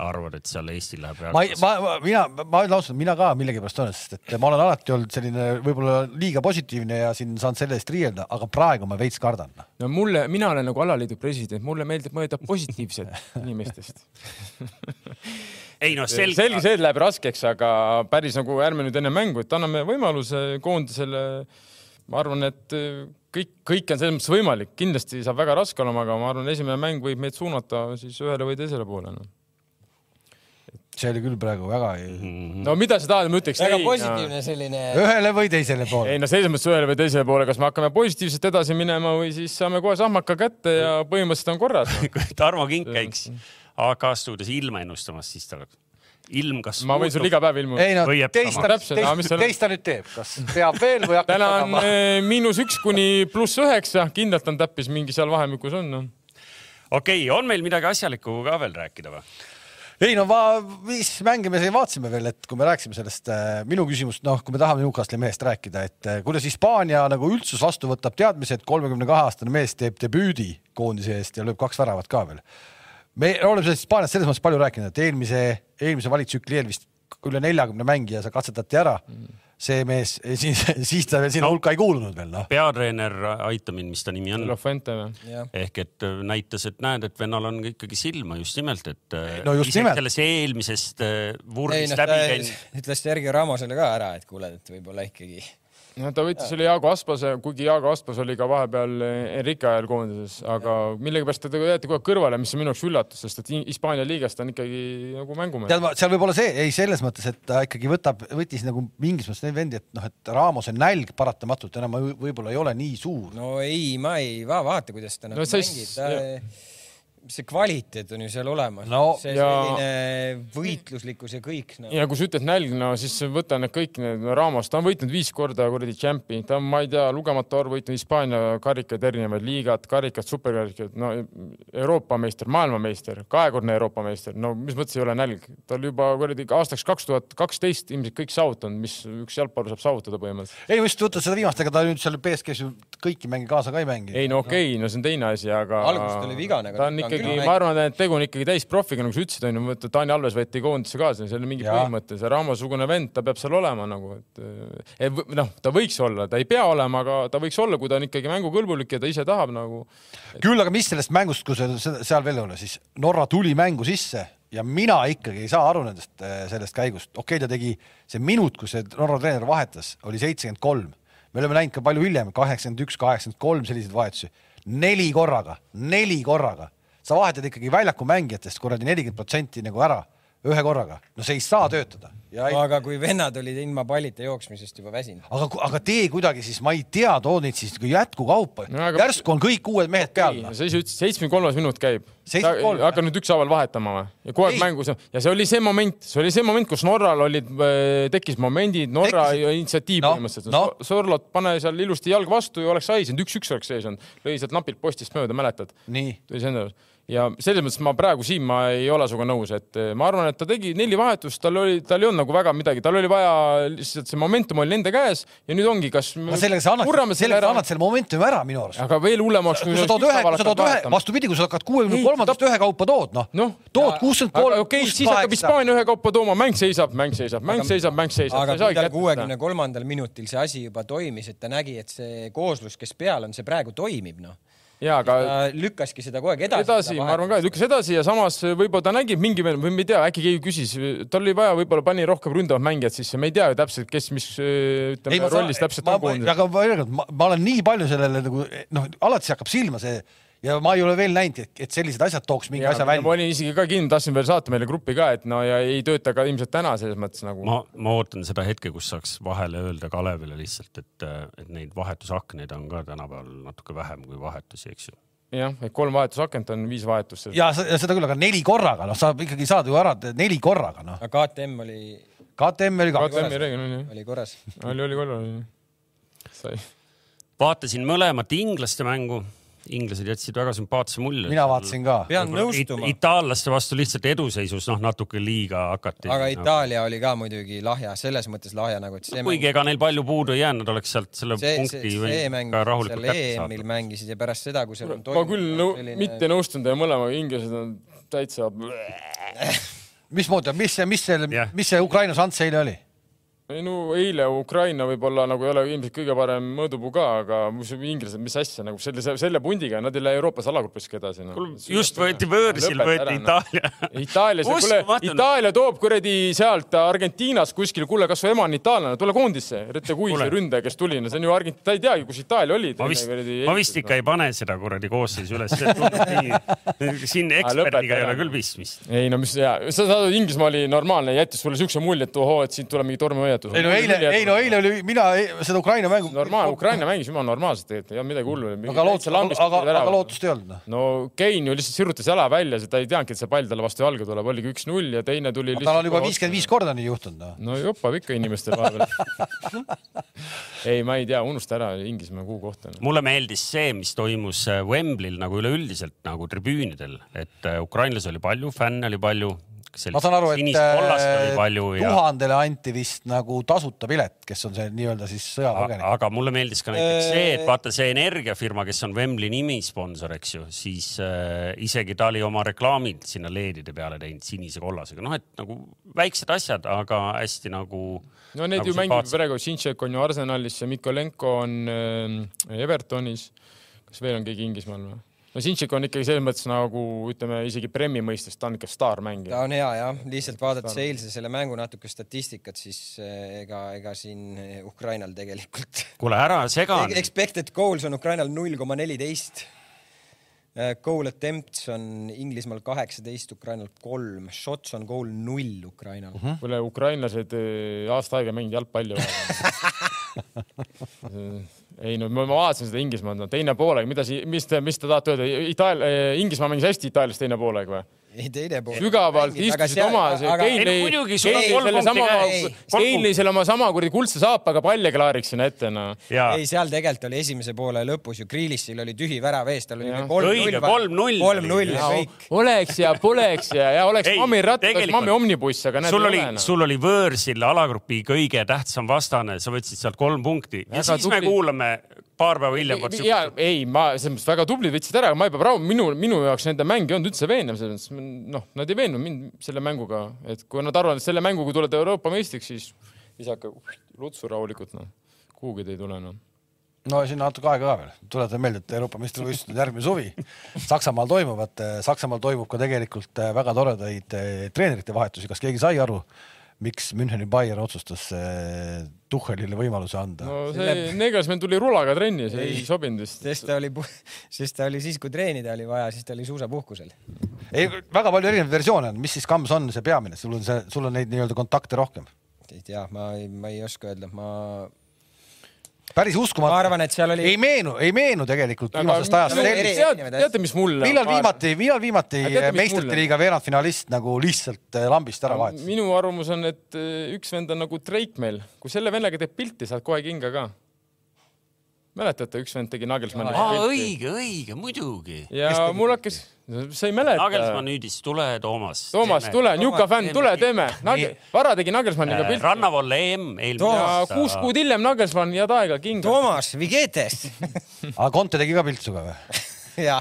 arvad , et seal Eesti läheb ma ei , ma, ma , mina , ma ütlen ausalt , mina ka millegipärast olen , sest et ma olen alati olnud selline võib-olla liiga positiivne ja siin saan selle eest riielda , aga praegu ma veits kardan . no mulle , mina olen nagu alaliidu president , mulle meeldib mõelda positiivselt inimestest . ei noh , selge , selge , see et läheb raskeks , aga päris nagu ärme nüüd enne mängu , et anname võimaluse koondisele . ma arvan , et äh, kõik , kõik on selles mõttes võimalik , kindlasti saab väga raske olema , aga ma arvan , esimene mäng võib meid suunata siis ühele või teisele poole no. . see oli küll praegu väga ei... no mida sa tahad , ma ütleks . väga positiivne selline . ühele või teisele poole ei . no selles mõttes ühele või teisele poole , kas me hakkame positiivselt edasi minema või siis saame kohe sahmaka kätte ja põhimõtteliselt on korras . kui Tarmo Kink käiks AK stuudios ilma ennustamas , siis ta oleks , ilm kas ma võin sulle iga päev ilmuda . ei no Või jääb teist ta , teist, samaks. Täpselt, aga teist, mis seal- teist ta nüüd teeb , kas peab veel või hakkab täna on tagama ? eh, miinus üks kuni pluss üheksa , kindlalt on täppis mingi seal vahemikus on noh. no. . okei okay, , on meil midagi asjalikku ka veel rääkida või ? ei no ma , viis mänge me siin vaatasime veel , et kui me rääkisime sellest , minu küsimus , noh , kui me tahame Newcastle'i mehest rääkida , et äh, kuidas Hispaania nagu üldsus vastu võtab teadmise , et kolmekümne kahe aastane mees teeb debüüdi koondise eest ja lööb kaks väravat ka veel . me oleme sellest Hispaaniast selles mõttes palju rääkinud , et eelmise , eelmise valitsükli eel vist üle neljakümne mängija sa katsetati ära . see mees , siis , siis ta veel sinna hulka ei kuulunud veel noh . peatreener , aita mind , mis ta nimi on ? Lofente või ? ehk et äh, näitas , et näed , et vennal on ka ikkagi silma just nimelt , et äh, No just isegi nimelt. selles eelmisest äh, ei vurgist noh , läbi ta käinud . ütles Sergei Ramosele ka ära , et kuule , et võib-olla ikkagi . no ta võttis selle Jaago Aspase , kuigi Jaago Aspas oli ka vahepeal äh, Enrique ajal koondises , aga millegipärast teda jäeti kohe kõrvale , mis on minu jaoks üllatus , sest et Hi- Hispaania liigas ta on ikkagi nagu mängumees . tead , seal võib olla see , ei selles mõttes , et ta ikkagi võtab , võttis nagu mingis mõttes neid vendi , et noh , et Raamose nälg paratamatult enam võ- võib-olla ei ole nii suur . no ei , ma ei va, , vaata , kuidas ta nagu No no, sa ei mängib , s- ta , see kvaliteet on ju seal olemas No see ja- selline võitluslikkus ja kõik noh. no. . ja kui sa ütled nälg , no siis võta need kõik need no, Ramos , ta on võitnud viis korda kuradi tšempi , ta on , ma ei tea , lugematu arv võitnud Hispaania karikaid , erinevaid liigad , karikad , superkarikad , no Euroopa meister , maailmameister , kahekordne Euroopa meister , no mis mõttes ei ole nälg , ta oli juba kuradi aastaks kaks tuhat kaksteist ilmselt kõik saavutanud , mis üks jalgpallur saab saavutada põhimõtteliselt . ei , ma just võtan seda viimast , ega ta nüüd seal BSG-s ju kõiki mänge kaasa ka ei mängi . ei no okei okay, , no see on teine asi , aga . Alguses ta oli vigane, aga ta on nüüd ta on ikkagi küll , ma arvan , et tegu on ikkagi täisprofiga , nagu sa ütlesid , onju , vaata Taani Alves võeti koondise kaasa , seal on mingi Jaa. põhimõte , see Ramo-sugune vend , ta peab seal olema nagu , et eh, ei, võ- noh , ta võiks olla , ta ei pea olema , aga ta võiks olla , kui ta on ikkagi mängukõlbulik ja ta ise tahab nagu . küll aga mis sellest mängust , kui seal, seal veel ei ole , siis Norra tuli mängu sisse ja mina ikkagi ei saa aru nendest , sellest käigust . okei okay, , ta tegi see minut , kui see Norra treener vahetas , oli seitsekümmend kolm . me oleme näinud ka palju hiljem , kaheksakümmend üks , kaheksakümmend kolm selliseid vahetusi . neli korraga , neli korraga . sa vahetad ikkagi väljaku mängijatest kuradi nelikümmend protsenti nagu ära ühe korraga . no see ei saa töötada ja ei aga kui vennad olid ilma pallita jooksmisest juba väsinud . aga , aga tee kuidagi siis , ma ei tea , too neid siis nagu jätkukaupa No no, aga- aga... . järsku on kõik uued mehed peal noh. sa no. . ise ütlesid , seitsmekümne kolmas minut käib . 73, hakka nüüd ükshaaval vahetama või ? ja kogu Ei. aeg mängus ja see oli see moment , see oli see moment , kus Norral olid , tekkis momendid , Norra Tekkisid. initsiatiiv Noh, põhimõtteliselt noh. no. . Sorlot , pane seal ilusti jalg vastu ja oleks saisnud , üks-üks oleks sees olnud , lõi sealt napilt postist mööda , mäletad ? nii , tuli see enda jaoks ja selles mõttes ma praegu siin ma ei ole sinuga nõus , et äh, ma arvan , et ta tegi neli vahetust , tal oli , tal ei olnud nagu väga midagi , tal oli vaja lihtsalt see momentum oli nende käes ja nüüd ongi , kas . aga sellega sa annad , sellega sa annad selle momentumi ära minu arust . aga veel hullemaks . kui sa tood ühe , kui sa tood ühe , vastupidi , kui sa hakkad kuuekümne kolmandast ühekaupa tood , noh Noh. no, , tood kuuskümmend kolm . okei , siis hakkab . Hispaania ühekaupa tooma , mäng seisab , mäng seisab , mäng seisab , mäng seisab . aga kui tal kuuekümne kolmandal minutil see asi juba toimis , et ta nägi , et see kooslus , kes peal on , see praegu toimib , noh . ja , aga ta lükkaski seda kogu aeg edasi . edasi , ma arvan ka , lükkas edasi ja samas võib-olla ta nägi mingi , või ma ei tea , äkki keegi küsis , tal oli vaja , võib-olla pani rohkem ründavad mängijad sisse , me ei tea ju täpselt , kes , mis öö, ei , ütleme ma rollis täpselt ma, on koondises . aga ma, veel kord, ma, ma olen nii palju sellele nagu noh , alati see hakkab silma see ja ma ei ole veel näinud , et , et sellised asjad tooks mingi ja, asja ma välja . olin isegi ka kinni , tahtsin veel saata meile gruppi ka , et no ja ei tööta ka ilmselt täna selles mõttes nagu . ma , ma ootan seda hetke , kus saaks vahele öelda Kalevile lihtsalt , et , et neid vahetusakneid on ka tänapäeval natuke vähem kui vahetusi , eks ju . jah , et kolm vahetusakent on viis vahetust . ja sa- ja seda küll , aga neli korraga , noh , sa ikkagi saad ju ära , neli korraga , noh . aga KTM oli , KTM oli kaks . KTM-i reegel on jah , oli korras . oli , oli kolm . sai . vaatasin mõlemat inglaste mängu , inglased jätsid väga sümpaatse mulje . mina vaatasin ka . pean nõustuma , itaallaste vastu lihtsalt eduseisus , noh , natuke liiga hakati . noh. aga . Itaalia oli ka muidugi lahja , selles mõttes lahja nagu , et see mäng kuigi ega neil palju puudu ei jäänud , oleks sealt selle see , see , punkti see mäng võinud ka , rahulikult seal kätte EM-il saada . mängisid ja pärast seda , kui seal on ma küll nõu- , mitte nõustun teie mõlemaga , inglased on täitsa . mismoodi , mis see , mis seal Jah. , mis see Ukraina šanss eile oli ? ei no eile Ukraina võib-olla nagu ei ole ilmselt kõige parem mõõdupuu ka , aga mis inglased , mis asja nagu selle , selle pundiga , nad ei lähe Euroopas alagrupiski edasi noh. no. . just võeti võõrsil , võeti . Itaalia . noh. noh- Itaalias , kuule , Itaalia toob kuradi sealt Argentiinas kuskil , kuule , kas su ema on itaallane , tule koondisse , Reteguise Kuule. ründaja , kes tuli , no see on ju Argent- , ta ei teagi , kus Itaalia oli . ma vist , ma vist ikka ei pane seda kuradi koosseisu üles , see tundub nii , siin Ah, lõpeta eksperdiga ei ära. noh. ole küll pistmist . ei no mis ja , sa saad , Inglismaa oli normaalne , jättis sulle siukse mulje , et ohoo , et siit tuleb mingi tormihoiatus . ei no eile , ei no eile oli , mina ei- seda Ukraina mängu . normaalne , Ukraina mängis jumala normaalselt tegelikult , ei olnud midagi hullu . aga lootust , aga , aga lootust ei olnud noh . no Kein ju lihtsalt sirutas jala välja , ta ei teadnudki , et see pall talle vastu jalga tuleb , oligi üks-null ja teine tuli lihtsalt . tal on juba viiskümmend viis . korda nii juhtunud noh . no jopab ikka inimestel vahepeal . ei , ma ei tea , unusta ära Inglismaa kuu kohta . mulle meeldis see , mis toimus Wembley'l nagu üleüldiselt nagu tribüünidel , et äh, ukrainlasi oli palju , fänne oli palju . ma saan aru , et sinist-kollast äh, oli palju ja tuhandele anti vist nagu tasuta pilet , kes on see nii-öelda siis sõjapõgenik . aga mulle meeldis ka näiteks Äh, see , et vaata see energiafirma , kes on Wembley nimi sponsor , eks ju , siis äh, isegi ta oli oma reklaamid sinna leedide peale teinud sinise-kollasega , noh , et nagu väiksed asjad , aga hästi nagu . no need nagu ju mängivad sümpaatsed. praegu , Sinšek on ju Arsenalis ja Mikolenko on äh, Evertonis . kas veel on keegi Inglismaal või ? no Sinšek on ikkagi selles mõttes nagu ütleme isegi Premi mõistes , ta on ikka staarmängija ta . on hea jah , lihtsalt vaadates eilse selle mängu natuke statistikat , siis eh, ega , ega siin eh, Ukrainal tegelikult kuule , ära sega E- . Expected goals on Ukrainal null koma neliteist . Goal attempts on Inglismaal kaheksateist , Ukrainal kolm , shots on goal null Ukrainal Mhm. uh . -huh. kuule , ukrainlased äh, aasta aega mänginud jalgpalli . ei no ma ma vaatasin seda Inglismaad , no teine poolaeg , mida si- , mis te , mis te tahate öelda , Itaalia , Inglismaa mängis hästi Itaalias teine poolaeg või ? ei teine pool . sügavalt istusid oma , see Ei, Kein no lõi muidugi, , sul on kolm selle punkti sama käes. , Kolm Kein lõi selle oma sama kuradi kuldse saapaga palli klaariks sinna ette , noh . ja ei , seal tegelikult oli esimese poole lõpus ju Grealishil oli tühi värav ees , tal oli Jah. Õige, kolm-null . kolm-null. kolm-null ja Jaa. kõik . oleks ja poleks ja , ja oleks Ei, mammi rattas , tegelikult- mammi omnibuss , aga näed , noh. sul oli , sul oli võõrsil alagrupi kõige tähtsam vastane , sa võtsid sealt kolm punkti ja Väga siis me tubli. kuulame paar päeva hiljem . ja ei , ma selles mõttes väga tublid võtsid ära , ma ei pea praegu , minu , minu jaoks nende mäng ei olnud üldse veenev , selles mõttes , noh , nad ei veennud mind selle mänguga , et kui nad arvavad , et selle mänguga tuled Euroopa meistriks , siis visake lutsu rahulikult , noh , kuhugi te ei tule , noh . no ja sinna natuke aega ka veel , tuletan meelde , et Euroopa meistrivõistlused on järgmine suvi Saksamaal toimuvad , Saksamaal toimub ka tegelikult eh, väga toredaid eh, treenerite vahetusi , kas keegi sai aru , miks Müncheni Bayern otsustas eh, Tuchelile võimaluse anda no. ? no see Negasmann tuli rulaga trenni , see ei sobinud vist . sest ta oli , sest ta oli siis , kui treenida oli vaja , siis ta oli suusapuhkusel . ei , väga palju erinevaid versioone on , mis siis kamps on see peamine , sul on see , sul on neid nii-öelda kontakte rohkem . ei tea , ma ei , ma ei oska öelda , ma , päris ma uskumatu . arvan , et seal oli ei meenu , ei meenu tegelikult viimasest ajast no, sellist eri- teate , mis mulle . millal viimati , millal viimati Aga teate, mis meistrite mulle- liiga veerandfinalist nagu lihtsalt eh, lambist ära vahetas ? minu arvamus on , et eh, üks vend on nagu Drake meil , kui selle vennaga teeb pilti , saad kohe kinga ka . mäletate , üks vend tegi Nagelsmanniga pilti ? õige , õige , muidugi . ja mul hakkas , sa ei mäleta Nagelsmann . hüüdis , tule , Toomas . äh, Toomas , tule , Njuka fänn , teeme Äh, tule pilti. teeme . vara tegi Nagelsmanniga pilti . rannavalle EM E eelmine ja kuus kuud hiljem Nagelsmann , head aega , kinga . Toomas Vigetes aga Conte tegi ka piltsu ka või ? jah ,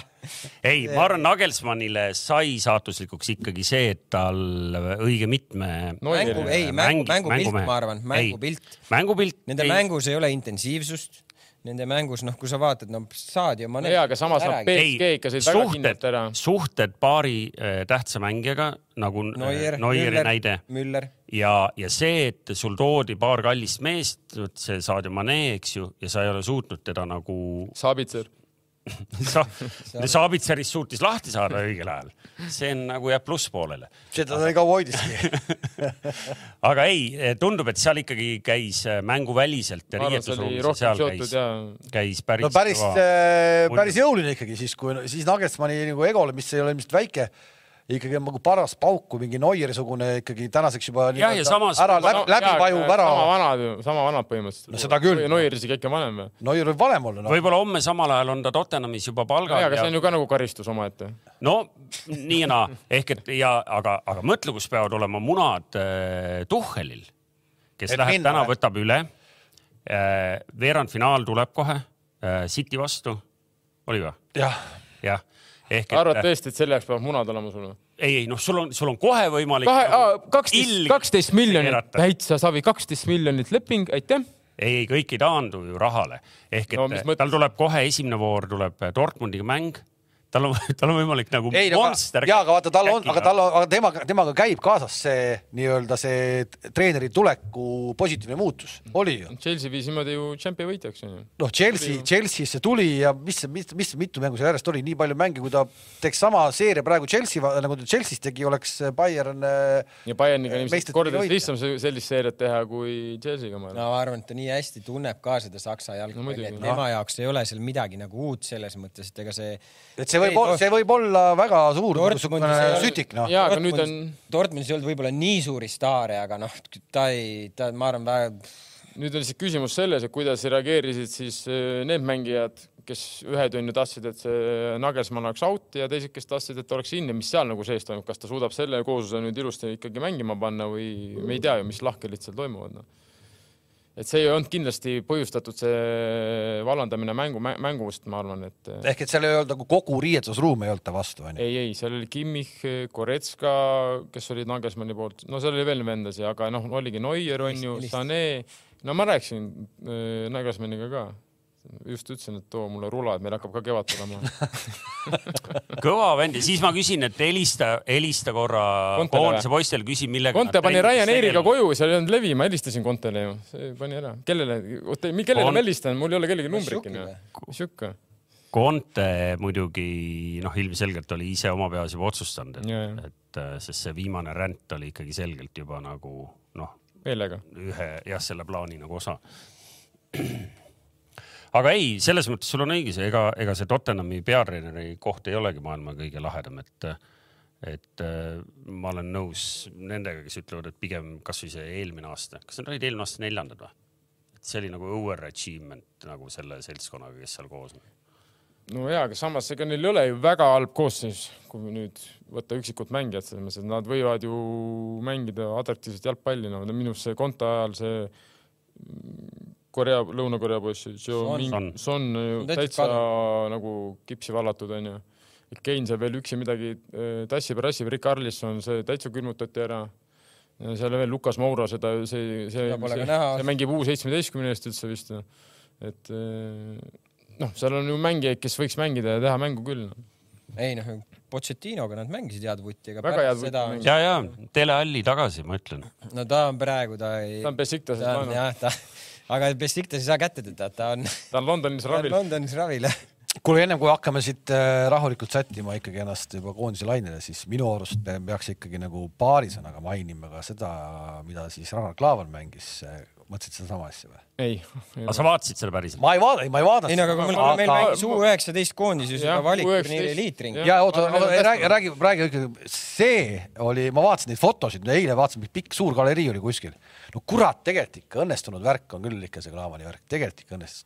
ei , ma arvan , Nagelsmannile sai saatuslikuks ikkagi see , et tal õige mitme No ei, mängu , ei mängu , mängupilt , ma arvan , mängupilt . mängupilt . Nende ei. mängus ei ole intensiivsaadsust , nende mängus , noh , kui sa vaatad , no saad ju . jaa , aga samas nad BSG ikka sõid väga kindlalt ära . suhted paari äh, tähtsa mängijaga nagu Neuer , Neuer, Neueri Müller näide , Müller , ja , ja see , et sul toodi paar kallist meest , see Sadio Mane , eks ju , ja sa ei ole suutnud teda nagu Sabitser . sa, , Saabitserist suutis lahti saada õigel ajal . see on nagu jääb plusspoolele . seda ta nii kaua hoidiski . aga ei , tundub , et seal ikkagi käis äh, mänguväliselt ma arvan , see oli riietusruumis , rohkem seal seotud käis , ja käis päris . no päris , äh, päris jõuline ikkagi siis , kui siis Nagelsmanni nagu egole , mis ei ole ilmselt väike , ikkagi on nagu paras pauk , kui mingi Neuer-sugune ikkagi tänaseks juba Jah, ja nii-öelda samas- ära läbi No , läbi jaa, vajuv ära . sama vanad ju , sama vanad põhimõtteliselt . No seda küll. Neuer isegi äkki on vanem või ? Neuer võib vanem olla noh. no. . võib-olla homme samal ajal on ta Tottenhamis juba palgal jaa , aga see on ju ka nagu karistus omaette . no nii ja naa , ehk et ja aga , aga mõtle , kus peavad olema munad äh, Tuhhelil , Et kes et läheb minna, täna , jah. võtab üle äh, . veerandfinaal tuleb kohe äh, City vastu , oli või ? jah , jah , ehk arvad et tõesti , et selle jaoks peavad munad olema sul või ? ei , ei noh , sul on , sul on kohe võimalik . nagu- nagu kahe , kaksteist , kaksteist miljonit , täitsa savi , kaksteist miljonit leping , aitäh . ei , ei kõik ei taandu ju rahale , ehk et No no, mis mõttes? tal tuleb kohe esimene voor tuleb Dortmundiga mäng , tal on , tal on võimalik nagu ei , no aga monster . jaa , aga vaata , tal on , aga tal on , aga temaga , temaga käib kaasas see nii-öelda see t- treeneri tuleku positiivne muutus , oli ju . Chelsea viis niimoodi ju tšempi võitjaks onju . noh , Chelsea , Chelsea'sse tuli ja mis , mis , mis mitu mängu seal järjest oli , nii palju mänge , kui ta teeks sama seeria praegu Chelsea , nagu ta Chelsea'is tegi , oleks Bayern äh, ja Bayerniga on ilmselt Meistrit kordades võitja. lihtsam se- sellist seeriat teha kui Chelsea'ga ma arvan . no ma arvan , et ta nii hästi tunneb ka seda Saksa No muidugi. Noh. jalgpalli , et tema jaoks ei ole seal midagi nagu uut selles mõttes , et ega see . et see võib , see võib olla väga suur nagu Dortmundis niisugune ei ole- sütik , noh . Jaa, aga nüüd on- . Dortmundis ei olnud võib-olla nii suuri staare , aga noh , ta ei , ta , ma arvan , väga nüüd on siis küsimus selles , et kuidas reageerisid siis äh, need mängijad , kes ühed on ju tahtsid , et see Nagelsmann oleks out ja teised , kes tahtsid , et oleks in ja mis seal nagu sees toimub , kas ta suudab selle koosluse nüüd ilusti ikkagi mängima panna või me ei tea ju , mis lahkhelid seal toimuvad no. . et see ei olnud kindlasti põhjustatud see vallandamine mängu , mängust , ma arvan , et eh, ehk et seal ei olnud nagu kogu riietusruum ei olnud ta vastu , onju . ei , ei , seal oli Kimmich , Koretska , kes olid Nagelsmanni poolt , no seal oli veel vendasid , aga noh , oligi Neuer on ju , Lihtsalt- Sané , no ma rääkisin äh, Nagelsmanniga ka , just ütlesin , et too mulle rula , et meil hakkab ka kevad tulema . kõva vend ja siis ma küsin , et helista , helista korra Kontele koondise poistel , küsi millega . Conte pani Ryanairiga . koju , seal ei olnud levi , ma helistasin Contele ju , see pani ära . kellele , oota , kellele Kon- ma helistan , mul ei ole kellegi numbrit Šuki ju või? . Šukka . Conte muidugi noh , ilmselgelt oli ise oma peas juba otsustanud , Jaa, jaa. et , et äh, sest see viimane ränd oli ikkagi selgelt juba nagu noh , meelega . ühe jah , selle plaani nagu osa . aga ei , selles mõttes sul on õigus , ega , ega see Tottenhami peatreeneri koht ei olegi maailma kõige lahedam , et et äh, ma olen nõus nendega , kes ütlevad , et pigem kasvõi see eelmine aasta , kas need olid eelmine aasta neljandad või ? see oli nagu overachievement nagu selle seltskonnaga , kes seal koos on . no jaa , aga samas ega neil ei ole ju väga halb koosseis , kui nüüd võtta üksikud mängijad selles mõttes , et nad võivad ju mängida atraktiivset jalgpalli , no minu arust see Konta ajal see mm, Korea , Lõuna-Korea poiss , Son. Son. Son ju Ta täitsa täitsa nagu kipsi vallatud onju . Kein seal veel üksi midagi äh, tassib ja rassib , Rick Arlisson , see täitsa külmutati ära . seal veel Lukas Moura , seda , see , see , Seda pole ka see, näha. see mängib U seitsmeteistkümne eest üldse vist . et eh, noh , seal on ju mängijaid , kes võiks mängida ja teha mängu küll . ei noh , Pochettinoga nad mängisid head vutti , aga Väga pärast head vutti seda mängisid. ja , ja telehalli tagasi , ma ütlen . on , no ta on praegu , ta ei . ta on Besiktasest ta on laenu , jah , ta , aga Besiktas ei saa kätte teda , ta on , ta on Londonis ta on ravil . Londonis ravil . kuule , ennem kui hakkame siit äh, rahulikult sättima ikkagi ennast juba koondise lainele , siis minu arust me peaks ikkagi nagu paari sõnaga mainima ka seda , mida siis Ragnar Klavan mängis . mõtlesid sedasama asja või ? ei , aga sa vaatasid selle päriselt ? ma ei vaadanud , ei ma ei vaadanud . ei no aga kui meil , meil mängis U üheksateist koondis ju seda Jah, valikturniiri U19. liitring . ja oota , Aga need on räägi , räägi , räägi ikkagi , see oli , ma vaatasin neid fotosid , eile vaatasin , pikk suur galerii oli kuskil . no kurat , tegelikult ikka õnnestunud värk on küll ikka see Klaavani värk , tegelikult ikka õnnestus .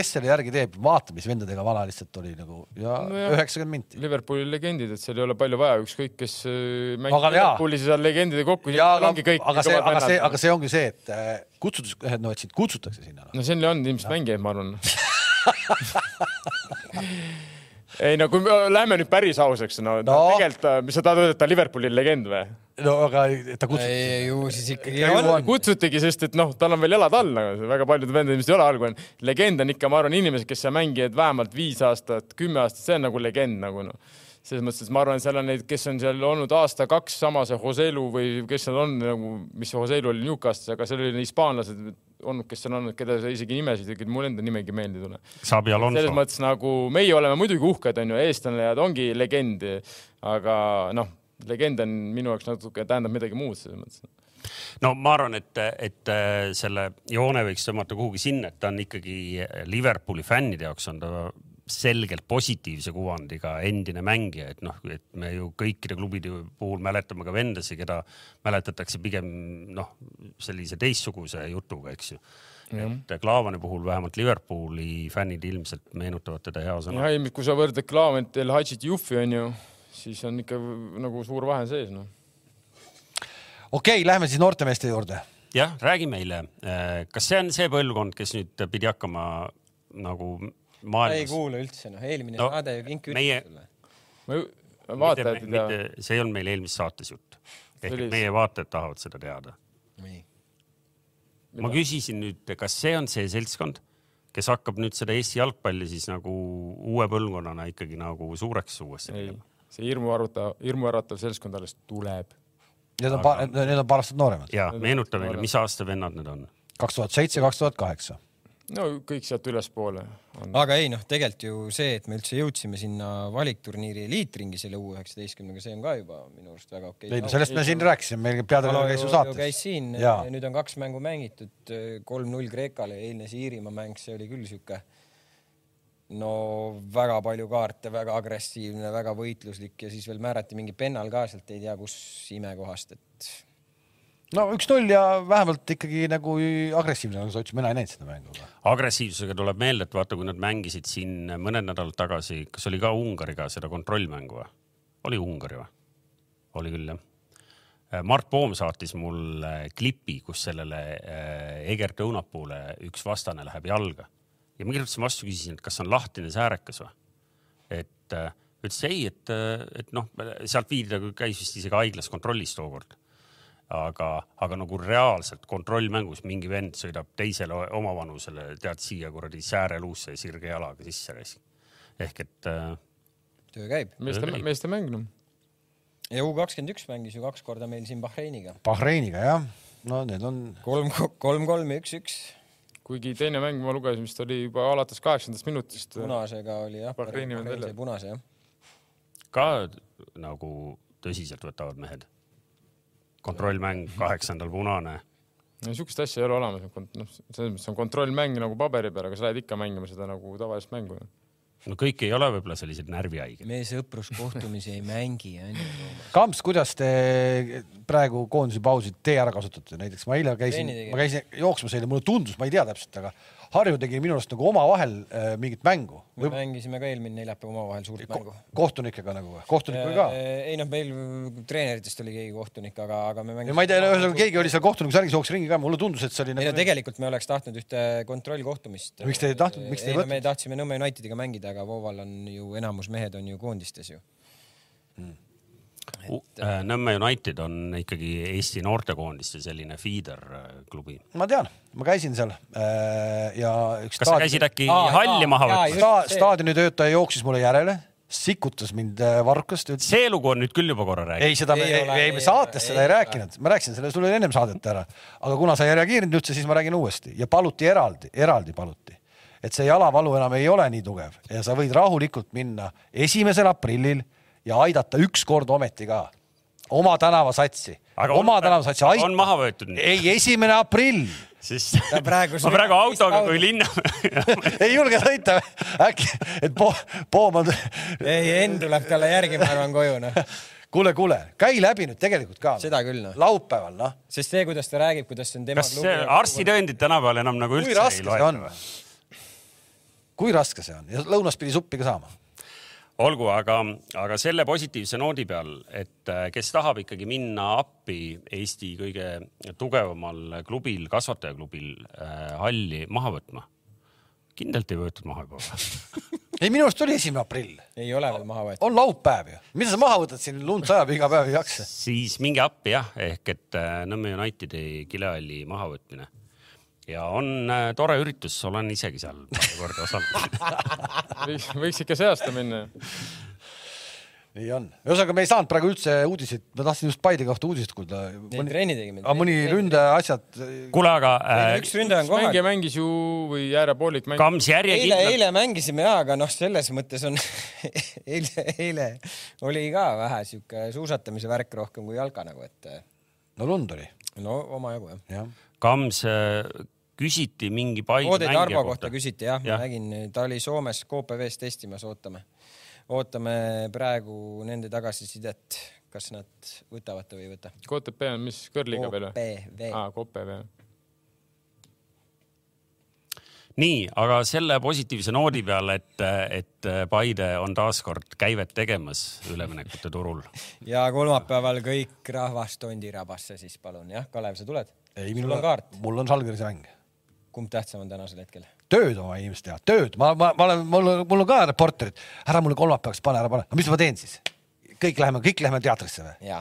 kes selle järgi teeb , vaata , mis vendadega vana lihtsalt oli nagu ja Nojah. üheksakümmend minti . Liverpooli legendid , et seal ei ole palju vaja , ükskõik kes eh, mängib Aga jaa. Liverpoolis ja seal legendide kokku . ja aga , aga see , aga see , aga see ongi see , et äh, kutsutus , no et sind kutsutakse sinna noh. no. . no siin on ilmselt mängijaid , ma arvan ei no kui me läheme nüüd päris ausaks , no, no. No. tegelikult , mis sa tahad öelda , et ta Liverpooli legend või ? no aga ta kutsutakse . ei , ju siis ikkagi Ei on ole. . kutsutigi , sest et noh , tal on veel jalad all , aga väga paljud vendad ilmselt ei ole algul . legend on ikka , ma arvan , inimesed , kes seal mängivad vähemalt viis aastat , kümme aastat , see on nagu legend nagu noh . selles mõttes , et ma arvan , seal on neid , kes on seal olnud aasta-kaks , sama see Joselu või kes seal on nagu , mis see Joselu oli Newcastle'is , aga seal olid hispaanlased olnud , kes seal on olnud , keda sa isegi nimesid , mul enda nimegi meelde ei tule Xabi selles Alonso . mõttes nagu meie oleme muidugi uhked , onju , eestlased ongi legend , aga noh , legend on minu jaoks natuke tähendab midagi muud selles mõttes . no ma arvan , et , et äh, selle joone võiks tõmmata kuhugi sinna , et ta on ikkagi Liverpooli fännide jaoks on ta selgelt positiivse kuvandiga endine mängija , et noh , et me ju kõikide klubide puhul mäletame ka vendasi , keda mäletatakse pigem noh , sellise teistsuguse jutuga , eks ju . et Klaavani puhul vähemalt Liverpooli fännid ilmselt meenutavad teda hea sõnaga . jah , kui sa võrdled Klaavent El Hadžit Jufi onju , siis on ikka nagu suur vahe sees noh . okei okay, , lähme siis noortemeeste juurde . jah , räägi meile , kas see on see põlvkond , kes nüüd pidi hakkama nagu ta ei maailmas ? kuula üldse , noh , eelmine No, saade ju kink meie- ütles sulle . ma ju- vaatajad ei tea . mitte , see ei olnud meil eelmises saates jutt . ehk Oli- et meie vaatajad tahavad seda teada . nii . ma küsisin nüüd , kas see on see seltskond , kes hakkab nüüd seda Eesti jalgpalli siis nagu uue põlvkonnana ikkagi nagu suureks uuesti ei tegema ?, see hirmuarvutav , hirmuäratav seltskond alles tuleb . Need on paar , need on paar aastat nooremad , ja meenuta meile , mis aasta vennad need on . kaks tuhat seitse , kaks tuhat kaheksa . no kõik sealt ülespoole on . aga ei noh , tegelikult ju see , et me üldse jõudsime sinna valikturniiri eliitringi selle U19-ga , see on ka juba minu arust väga okei ei no sellest me siin rääkisime , meil peatreener käis ju saates . käis siin ja. jaa ja , nüüd on kaks mängu mängitud , kolm-null Kreekale , eilne see Iirimaa mäng , see oli küll sihuke no väga palju kaarte , väga agressiivne , väga võitluslik ja siis veel määrati mingi pennal ka sealt ei tea kus imekohast , et no üks-null ja vähemalt ikkagi nagu agressiivne , nagu sa ütlesid , mina ei näinud seda mängu . agressiivsusega tuleb meelde , et vaata , kui nad mängisid siin mõned nädalad tagasi , kas oli ka Ungariga seda kontrollmängu või ? oli Ungari või ? oli küll jah . Mart Poom saatis mulle klipi , kus sellele äh, Egert Õunapuule üks vastane läheb jalga ja ma kirjutasin vastu , küsisin , et kas on lahtine säärekas või ? et äh, ütles ei , et , et noh , sealt viidi ta , käis vist isegi haiglas kontrollis tookord aga , aga nagu reaalselt kontrollmängus mingi vend sõidab teisele o- omavanusele , tead siia kuradi sääreluusse ja sirge jalaga sisse raisk . ehk et äh, töö käib . meeste , Ei. meeste mäng noh . ja U kakskümmend üks mängis ju kaks korda meil siin Bahreiniga . Bahreiniga jah , no need on , kolm , kolm-kolm ja üks-üks kuigi teine mäng ma lugesin , vist oli juba alates kaheksandast minutist . punasega oli jah . Bahreini vend välja. punase jah . ka nagu tõsiselt võtavad mehed . kontrollmäng , kaheksandal punane . no sihukest asja ei ole olemas , noh , selles mõttes on kontrollmäng nagu paberi peal , aga sa lähed ikka mängima seda nagu tavalist mängu . no kõik ei ole võib-olla sellised närvihaiged . meie sõpruskohtumisi ei mängi onju . Kamps , kuidas te praegu koondise pausid tee ära kasutate , näiteks ma eile käisin Trenni tegime. , ma käisin jooksmas eile , mulle tundus , ma ei tea täpselt , aga Harju tegi minu arust nagu omavahel äh, mingit mängu me või mängisime ka eelmine neljapäev omavahel suurt mängu . kohtunikega nagu , kohtunikuga ka . ei noh , meil treeneritest oli keegi kohtunik , aga , aga me ja mängisime . ma ei tea , ühesõnaga keegi oli seal kohtuniku särgis , jooksis ringi ka , mulle tundus , et see oli ei no nagu tegelikult me oleks tahtnud ühte kontrollkohtumist . Miks te ei tahtnud? Miks te ei ei no võtnud? me tahtsime Nõmme Unitediga mängida , aga Vooval on ju enamus mehed on ju koondistes ju . äh, Nõmme United on ikkagi Eesti noortekoondiste selline feeder äh, klubi . ma tean , ma käisin seal äh, ja üks kas sa käisid äkki Aa, halli jaa, maha jaa, võtmas ? just. sta- see- staadionitöötaja jooksis mulle järele , sikutas mind äh, varrukast , ütles see lugu on nüüd küll juba korra räägitud . ei , seda me , Ei ei, ole, ei, ei me ole, saates seda ei, ei ei ole. rääkinud , ma rääkisin selle sulle ennem saadet ära , aga kuna sa ei reageerinud üldse , siis ma räägin uuesti ja paluti eraldi , eraldi paluti , et see jalavalu enam ei ole nii tugev ja sa võid rahulikult minna esimesel aprillil ja aidata ükskord ometi ka oma tänavasatsi , Aga on- oma tänavasatsi aga on maha võetud nüüd? ei , esimene aprill siis Ta praegu ma praegu sõidab autoga vist kui linna ei julge sõita , äkki , et po- , poom on , ei , Enn tuleb talle järgi , ma arvan , koju noh . kuule , kuule , käi läbi nüüd tegelikult ka . Seda küll, noh. laupäeval noh , sest see , kuidas ta räägib , kuidas see on tema kas see arstitõendid tänapäeval enam kui nagu üldse raske ei see loe ? on ? kui raske see on ja lõunas pidi suppi ka saama . olgu , aga , aga selle positiivse noodi peal , et äh, kes tahab ikkagi minna appi Eesti kõige tugevamal klubil , kasvatajaklubil äh, halli maha võtma , kindlalt ei võetud maha juba või ? ei , minu arust oli esimene aprill , ei ole veel maha võetud . on laupäev ju , mida sa maha võtad siin , lund sajab iga päev ei jaksa . siis minge appi jah , ehk et äh, Nõmme Unitedi kilehalli mahavõtmine ja on äh, tore üritus , olen isegi seal paar korda osalenud . võiks , võiks ikka see aasta minna . nii on , ühesõnaga me ei saanud praegu üldse uudiseid , ma tahtsin just Paide kohta uudiseid kuulda . ei , trenni tegime . aga mõni ründaja asjad , kuule , aga äh, üks ründaja on kohal mängija . mängis ju või äärepoolik mängis . Kams eile , järjekindlalt eile mängisime ja , aga noh , selles mõttes on eile , eile oli ka vähe sihuke suusatamise värk rohkem kui jalka nagu , et no lund oli , no omajagu jah . jah . Kams , küsiti mingi Paide Oode mängija Tarbo kohta kohta . küsiti jah ja. , Jah. ma nägin , ta oli Soomes KPV-s testimas , ootame , ootame praegu nende tagasisidet , kas nad võtavad ta või ei võta . KTP on mis , kõrliga veel või ? KPV , aa , KPV . nii , aga selle positiivse noodi peal , et , et äh, Paide on taaskord käivet tegemas üleminekute turul . ja kolmapäeval kõik rahvast Tondi rabasse siis palun jah , Kalev , sa tuled ? ei , sul minul on kaart , mul on Salgerise mäng kumb tähtsam on tänasel hetkel ? tööd oma inimestele teha , tööd , ma , ma , ma olen , mul , mul on ka reporterid , ära mulle kolmapäevaks pane , ära pane , aga mis ma teen siis ? kõik läheme , kõik läheme teatrisse või ? ja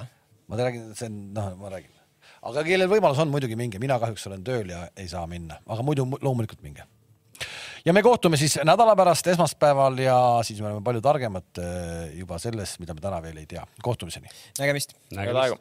ma räägin , see on , noh , ma räägin . aga kellel võimalus on , muidugi minge , mina kahjuks olen tööl ja ei saa minna , aga muidu mu- loomulikult minge . ja me kohtume siis nädala pärast esmaspäeval ja äh, siis me oleme palju targemad eh, juba selles , mida me täna veel ei tea . kohtumiseni . nägemist . head aega .